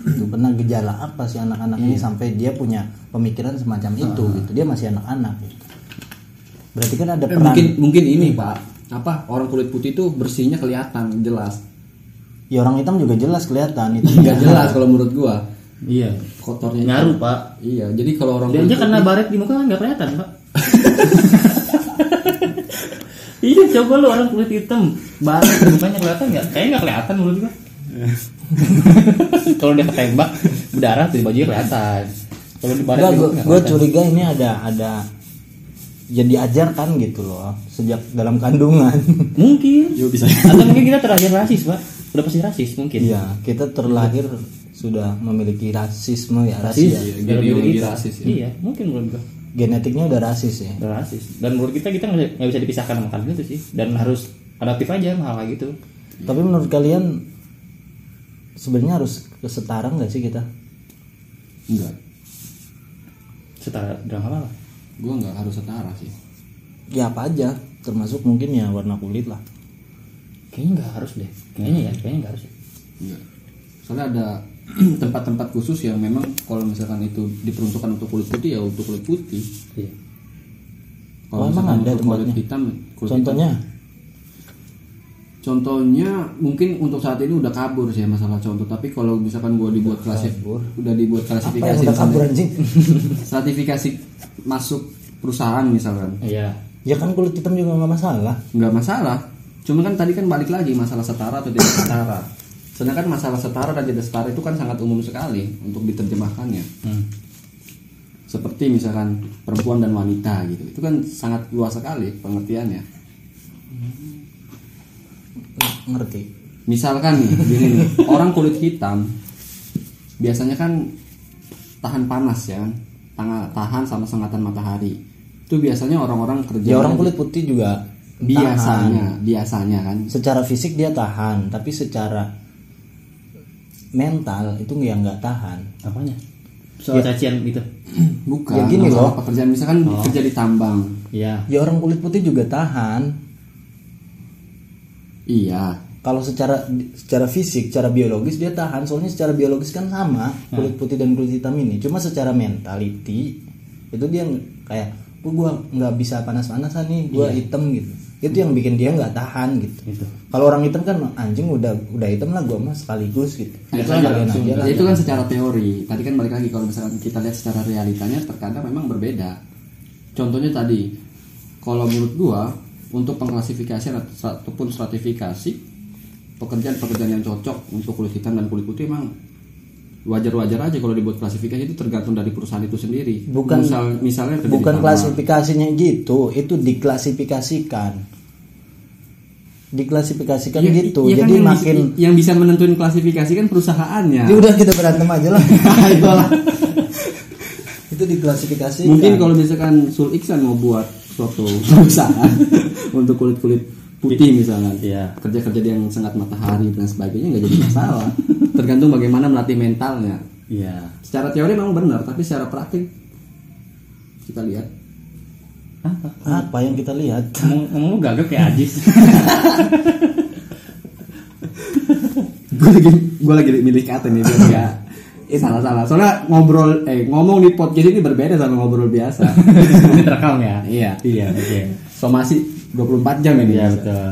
Speaker 3: Itu benar gejala apa sih anak-anak
Speaker 2: Iya.
Speaker 3: ini sampai dia punya pemikiran semacam itu
Speaker 2: Ah.
Speaker 3: gitu. Dia masih anak-anak gitu. Berarti kan
Speaker 2: Eh,
Speaker 3: ada peran
Speaker 4: Eh, mungkin mungkin ini pak apa orang kulit putih itu bersihnya kelihatan jelas
Speaker 3: Ya orang hitam juga jelas kelihatan itu. kan?
Speaker 4: nggak jelas kalau menurut gua
Speaker 2: Iya.
Speaker 4: kotornya itu.
Speaker 2: Ngaruh, Pak.
Speaker 4: iya jadi kalau orang
Speaker 2: Dia aja
Speaker 4: kulit
Speaker 2: kena baret di muka kan nggak kelihatan, Pak. iya, coba lu orang kulit hitam, baret di mukanya kelihatan nggak? Kayaknya nggak kelihatan menurut gua. Kalau dia ketembak, berdarah tuh di bajunya kelihatan. Kalau di baret
Speaker 3: Enggak,
Speaker 2: di
Speaker 3: gue,
Speaker 2: muka nggak
Speaker 3: gue
Speaker 2: kelihatan.
Speaker 3: curiga ini ada ada ya diajarkan gitu loh sejak dalam kandungan.
Speaker 2: Mungkin.
Speaker 4: Yo, bisa.
Speaker 2: Atau mungkin kita terakhir rasis, Pak. Udah pasti rasis mungkin.
Speaker 3: Iya, kita terlahir sudah memiliki rasisme ya rasis.
Speaker 2: Iya,
Speaker 4: jadi
Speaker 2: dalam diri
Speaker 4: lagi
Speaker 2: kita.
Speaker 4: rasis, ya.
Speaker 2: Iya, mungkin menurut gua.
Speaker 3: Genetiknya udah rasis ya.
Speaker 2: Udah rasis. Dan menurut kita kita nggak nggak bisa dipisahkan sama kalian itu sih. Dan harus adaptif aja sama hal kayak gitu.
Speaker 3: Tapi menurut kalian sebenarnya harus kesetara nggak sih kita?
Speaker 4: enggak
Speaker 2: Setara dalam hal apa?
Speaker 4: gua nggak harus setara sih
Speaker 3: Ya apa aja, termasuk mungkin ya warna kulit lah.
Speaker 2: Kayaknya nggak harus deh. Kayaknya ya, kayaknya nggak harus.
Speaker 4: enggak Iya. soalnya ada tempat-tempat khusus yang memang kalau misalkan itu diperuntukkan untuk kulit putih ya untuk kulit putih
Speaker 2: Iya.
Speaker 3: Oh,
Speaker 4: kalau
Speaker 3: emang
Speaker 4: misalkan
Speaker 3: ada
Speaker 4: untuk kulit
Speaker 3: tempatnya?
Speaker 4: hitam kulit hitam-
Speaker 3: Contohnya
Speaker 4: Contohnya mungkin untuk saat ini udah kabur sih ya masalah contoh, tapi kalau misalkan gua dibuat klasif, udah dibuat
Speaker 3: apa yang
Speaker 4: klasifikasi
Speaker 3: udah kabur
Speaker 4: misalnya,
Speaker 3: anjing?
Speaker 4: stratifikasi masuk perusahaan misalkan
Speaker 2: Iya.
Speaker 3: ya kan kulit hitam juga nggak masalah.
Speaker 4: nggak masalah. Cuma kan tadi kan balik lagi masalah setara atau tidak setara. Sedangkan masalah setara dan tidak setara itu kan sangat umum sekali untuk diterjemahkannya.
Speaker 3: Hmm.
Speaker 4: Seperti misalkan perempuan dan wanita gitu, itu kan sangat luas sekali pengertiannya.
Speaker 3: Ng- Ngerti?
Speaker 4: Misalkan nih, gini nih, orang kulit hitam biasanya kan tahan panas ya, kan? Tanga- tahan sama sengatan matahari. Itu biasanya orang-orang kerja.
Speaker 3: Ya orang kulit putih juga tahan. Ya,
Speaker 4: biasanya, biasanya kan.
Speaker 3: secara fisik dia tahan tapi secara mental itu yang nggak tahan
Speaker 2: Apanya? Soal cacian gitu.
Speaker 4: Bukan.
Speaker 3: Ya gini
Speaker 4: masalah
Speaker 3: loh. Oh.
Speaker 4: Pekerjaan misalkan kerja di tambang.
Speaker 2: Iya.
Speaker 3: ya orang kulit putih juga tahan
Speaker 4: Iya.
Speaker 3: kalau secara secara fisik secara biologis dia tahan soalnya secara biologis kan sama kulit putih dan kulit hitam ini cuma secara mentality itu dia ng- kayak "Oh, gua nggak bisa panas-panasan nih gua hitam gitu itu yang bikin dia nggak tahan gitu
Speaker 2: Gitu.
Speaker 3: kalau orang hitam kan anjing udah udah hitam lah gua mah sekaligus gitu
Speaker 4: Nah, itu,
Speaker 3: Sekalian
Speaker 4: kan-
Speaker 3: aja lah.
Speaker 4: itu kan secara teori. Tadi kan balik lagi kalau misalkan kita lihat secara realitanya terkadang memang berbeda. Contohnya tadi, kalau menurut gua untuk pengklasifikasian atau stra- ataupun stratifikasi pekerjaan-pekerjaan yang cocok untuk kulit hitam dan kulit putih memang wajar-wajar aja kalau dibuat klasifikasi itu tergantung dari perusahaan itu sendiri.
Speaker 3: Bukan-
Speaker 4: Misal- misalnya kerja di
Speaker 3: Bukan
Speaker 4: tambang.
Speaker 3: klasifikasinya gitu, itu diklasifikasikan. Diklasifikasikan
Speaker 4: Iya-
Speaker 3: gitu.
Speaker 4: iya kan
Speaker 3: Jadi
Speaker 4: yang bisa-
Speaker 3: makin
Speaker 4: yang bisa menentuin klasifikasi kan perusahaannya.
Speaker 3: ya udah kita berantem aja lah.
Speaker 4: Itulah.
Speaker 3: itu diklasifikasikan.
Speaker 4: Mungkin
Speaker 2: Iya.
Speaker 4: kalau misalkan Sul Iksan mau buat suatu perusahaan untuk kulit-kulit putih misalnya
Speaker 2: Iya.
Speaker 4: kerja-kerja dia yang sangat matahari dan sebagainya nggak jadi masalah tergantung bagaimana melatih mentalnya
Speaker 2: Iya.
Speaker 4: secara teori memang benar tapi secara praktik kita lihat
Speaker 2: Apa?
Speaker 3: apa yang kita lihat?
Speaker 2: Ngomong, ngomong lu gagap kayak Ajis.
Speaker 4: gue lagi gue lagi milih kata nih biar nggak eh salah salah soalnya ngobrol eh ngomong di podcast ini berbeda sama ngobrol biasa
Speaker 2: Ini terekam ya.
Speaker 4: iya
Speaker 2: Iya, oke.
Speaker 4: somasi 24 jam ini
Speaker 2: Iya,
Speaker 4: biasa.
Speaker 2: betul.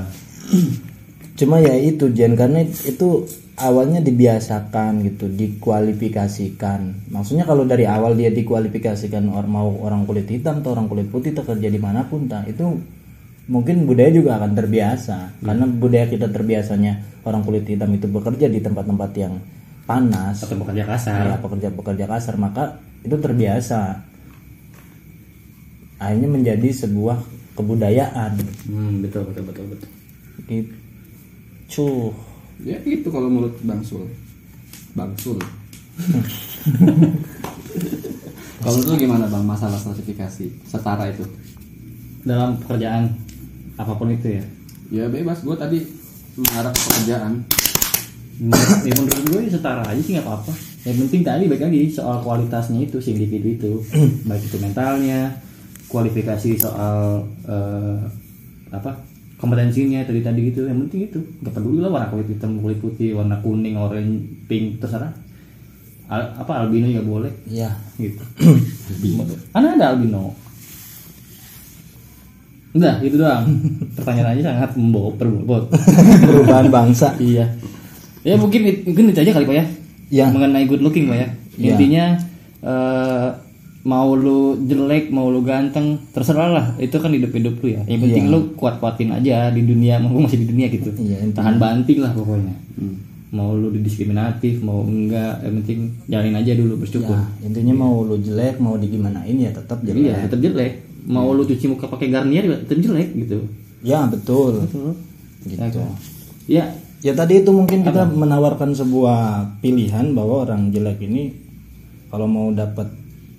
Speaker 3: Cuma ya itu Jen karena itu awalnya dibiasakan gitu, dikualifikasikan. Maksudnya kalau dari awal dia dikualifikasikan orang mau orang kulit hitam atau orang kulit putih terkerja di manapun tah, itu mungkin budaya juga akan terbiasa karena budaya kita terbiasanya orang kulit hitam itu bekerja di tempat-tempat yang panas,
Speaker 2: Atau bekerja kasar.
Speaker 3: ya pekerja-pekerja kasar maka itu terbiasa. Akhirnya menjadi sebuah kebudayaan.
Speaker 2: Hmm, betul, betul, betul, betul.
Speaker 3: Gitu. Cuh. Gitu.
Speaker 4: gitu Ya itu kalau menurut Bang Sul. Bang Sul. Kalau itu gimana bang masalah stratifikasi setara itu?
Speaker 2: dalam pekerjaan apapun itu ya
Speaker 4: Ya bebas, gue tadi mengarah ke pekerjaan.
Speaker 2: menurut, ya menurut gue ya setara aja sih nggak apa-apa yang penting tadi baik lagi soal kualitasnya itu si individu itu baik itu mentalnya kualifikasi soal eh, apa kompetensinya tadi tadi gitu yang penting itu nggak peduli lah warna kulit hitam kulit putih warna kuning orange pink terserah Al- apa albino ya boleh
Speaker 3: Iya.
Speaker 2: gitu karena ada albino udah gitu doang pertanyaannya sangat membawa berbobot
Speaker 3: Perubahan bangsa.
Speaker 2: iya ya mungkin it- mungkin itu aja kali pak ya
Speaker 3: Ya.
Speaker 2: mengenai good looking pak ya
Speaker 3: Iya.
Speaker 2: intinya eh, mau lu jelek mau lu ganteng terserah lah itu kan hidup hidup lu ya yang penting lu kuat kuatin aja di dunia mumpung masih di dunia gitu
Speaker 3: Iya, intinya. Hmm.
Speaker 2: tahan banting lah pokoknya mau lu didiskriminatif mau enggak yang penting jalanin aja dulu bersyukur
Speaker 3: Ya, intinya mau lu jelek, mau digimanain ya tetap jelek.
Speaker 2: Iya, tetap jelek. Mau
Speaker 3: Iya.
Speaker 2: lu cuci muka pakai Garnier juga tetap jelek gitu.
Speaker 3: Ya, betul.
Speaker 2: Mm-hmm.
Speaker 3: Gitu.
Speaker 2: Ya,
Speaker 3: Ya tadi itu mungkin kita menawarkan sebuah pilihan bahwa orang jelek ini kalau mau dapat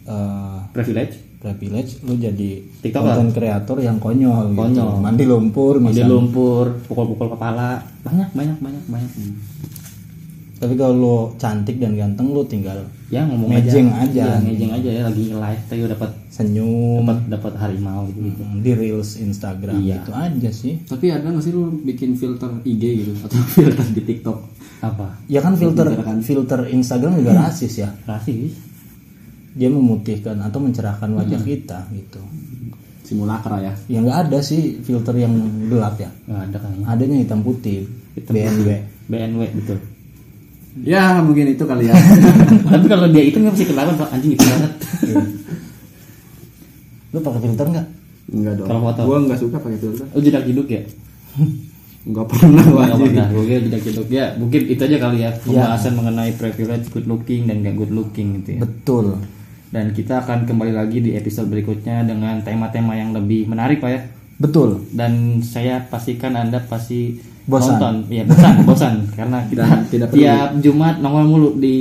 Speaker 3: eh,
Speaker 2: privilege.
Speaker 3: privilege lu jadi
Speaker 2: TikToker.
Speaker 3: konten kreator yang konyol, gitu.
Speaker 2: Konyol.
Speaker 3: Mandi lumpur
Speaker 2: Mandi
Speaker 3: misalnya.
Speaker 2: lumpur, pukul-pukul kepala. Banyak, banyak, banyak, banyak.
Speaker 3: Tapi kalau lu cantik dan ganteng lu tinggal
Speaker 2: Ya ngomong
Speaker 3: Mejeng
Speaker 2: aja.
Speaker 3: aja.
Speaker 2: Iya, mejeng aja ya lagi live tapi dapat
Speaker 3: senyum
Speaker 2: dapat dapat harimau gitu. gitu.
Speaker 3: di reels Instagram
Speaker 2: Iya.
Speaker 3: gitu aja sih.
Speaker 4: Tapi ada nggak sih lu bikin filter IG gitu atau filter di TikTok?
Speaker 2: Apa?
Speaker 3: Ya kan filter filter Instagram juga rasis ya.
Speaker 2: Rasis.
Speaker 3: Dia memutihkan atau mencerahkan wajah
Speaker 2: Hmm.
Speaker 3: kita gitu.
Speaker 4: Simulakra ya.
Speaker 3: Ya nggak ada sih filter yang gelap ya.
Speaker 2: Nggak ada kayaknya.
Speaker 3: Adanya hitam putih,
Speaker 2: Hitam
Speaker 3: BNW.
Speaker 2: BNW betul.
Speaker 4: Ya mungkin itu kali ya.
Speaker 2: Tapi kalau dia itu nggak bisa ketahuan Pak. anjing itu banget.
Speaker 3: Lu pakai filter nggak?
Speaker 2: Iya.
Speaker 4: Enggak dong.
Speaker 2: Kalau foto.
Speaker 4: Gue nggak suka pakai filter.
Speaker 2: Oh jedak jeduk ya?
Speaker 4: Nggak pernah gua
Speaker 2: Nggak
Speaker 4: aja.
Speaker 2: pernah. Oke, jedak jeduk ya. Mungkin itu aja kali ya pembahasan mengenai privilege good looking dan gak good looking gitu ya.
Speaker 3: Betul.
Speaker 2: Dan kita akan kembali lagi di episode berikutnya dengan tema-tema yang lebih menarik Pak ya.
Speaker 3: Betul.
Speaker 2: Dan saya pastikan Anda pasti
Speaker 3: Bosan.
Speaker 2: nonton. Iya, bosan, bosan karena kita
Speaker 4: Tidak- tidak peduli.
Speaker 2: tiap Jumat nongol mulu di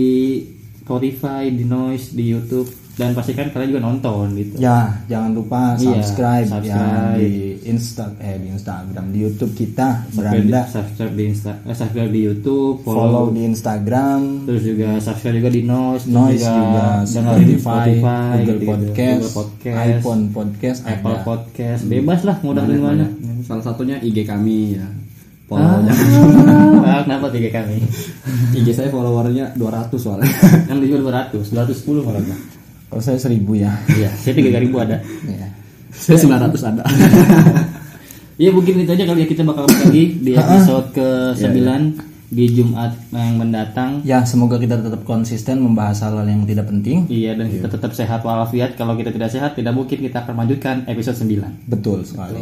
Speaker 2: Spotify, di Noise, di YouTube dan pastikan kalian juga nonton gitu.
Speaker 3: Ya, jangan lupa
Speaker 2: Iya,
Speaker 3: subscribe,
Speaker 2: subscribe.
Speaker 3: ya di Insta eh di Instagram, di YouTube kita
Speaker 2: Subscribe di,
Speaker 3: beranda
Speaker 2: subscribe di Insta, eh, subscribe di YouTube, follow,
Speaker 3: follow di Instagram,
Speaker 2: terus juga subscribe juga di Noise, terus
Speaker 3: Noise juga,
Speaker 2: Iya, dengerin
Speaker 3: Spotify, Google,
Speaker 2: gitu,
Speaker 3: Podcast,
Speaker 2: Google Podcast,
Speaker 3: iPhone Podcast,
Speaker 2: Apple
Speaker 3: ada. Hmm.
Speaker 2: Podcast, bebas lah mau dengerin mana.
Speaker 4: Salah satunya IG kami ya.
Speaker 2: Ah,
Speaker 4: Follow
Speaker 2: ah, kenapa tiga kami?
Speaker 4: IG saya followernya 200 soalnya.
Speaker 2: Yang dijual 200, 210 malah. Bang.
Speaker 3: Kalau saya seribu ya.
Speaker 2: Iya, saya 3000 ada.
Speaker 3: Ya.
Speaker 4: saya 900 ada.
Speaker 2: Iya, mungkin itu aja kali ya kita bakal balik lagi di episode ke-9 di Jumat yang mendatang.
Speaker 3: Ya, semoga kita tetap konsisten membahas hal-hal yang tidak penting.
Speaker 2: Iya, dan kita tetap sehat walafiat. Kalau kita tidak sehat, tidak mungkin kita akan lanjutkan episode 9.
Speaker 3: Betul sekali.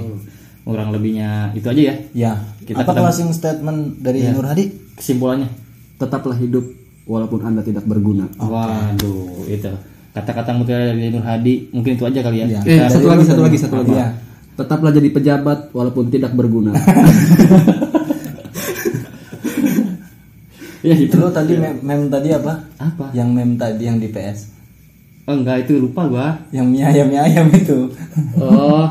Speaker 2: Kurang lebihnya itu aja ya
Speaker 3: Ya,
Speaker 2: Kita
Speaker 3: apa
Speaker 2: ketemu.
Speaker 3: closing statement
Speaker 4: Ya.
Speaker 3: dari Nur Hadi?
Speaker 2: kesimpulannya.
Speaker 4: Tetaplah hidup walaupun Anda tidak berguna.
Speaker 2: Waduh, itu. Kata-kata mutiara dari Nur Hadi, mungkin itu aja kali ya.
Speaker 3: Iya.
Speaker 4: Eh,
Speaker 2: Kita-
Speaker 4: satu lagi, satu lagi, satu lagi.
Speaker 3: Iya.
Speaker 4: Tetaplah jadi pejabat walaupun tidak berguna.
Speaker 2: Iya, gitu.
Speaker 3: Lu tadi mem, mem tadi apa?
Speaker 2: Apa?
Speaker 3: Yang mem tadi yang di PS.
Speaker 2: Oh, enggak, itu lupa gua.
Speaker 3: Yang mie ayam mie ayam itu.
Speaker 2: Oh.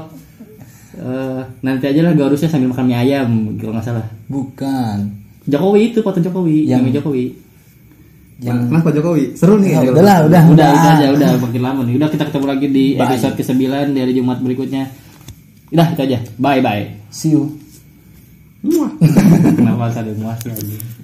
Speaker 2: eh, nanti aja lah Garusnya sambil makan mie ayam kalau nggak salah.
Speaker 3: Bukan.
Speaker 2: Jokowi itu foto Jokowi, yang Jokowi.
Speaker 4: Yang... Mas Pak Jokowi, seru nih.
Speaker 3: Ya,
Speaker 4: kayaknya.
Speaker 3: udahlah, udah,
Speaker 2: Udah,
Speaker 3: udah.
Speaker 2: udah aja, udah makin lama nih. Udah kita ketemu lagi di episode ke-9 dari Jumat berikutnya. Udah, itu aja. Bye bye.
Speaker 3: See you.
Speaker 2: Kenapa ada muasnya aja.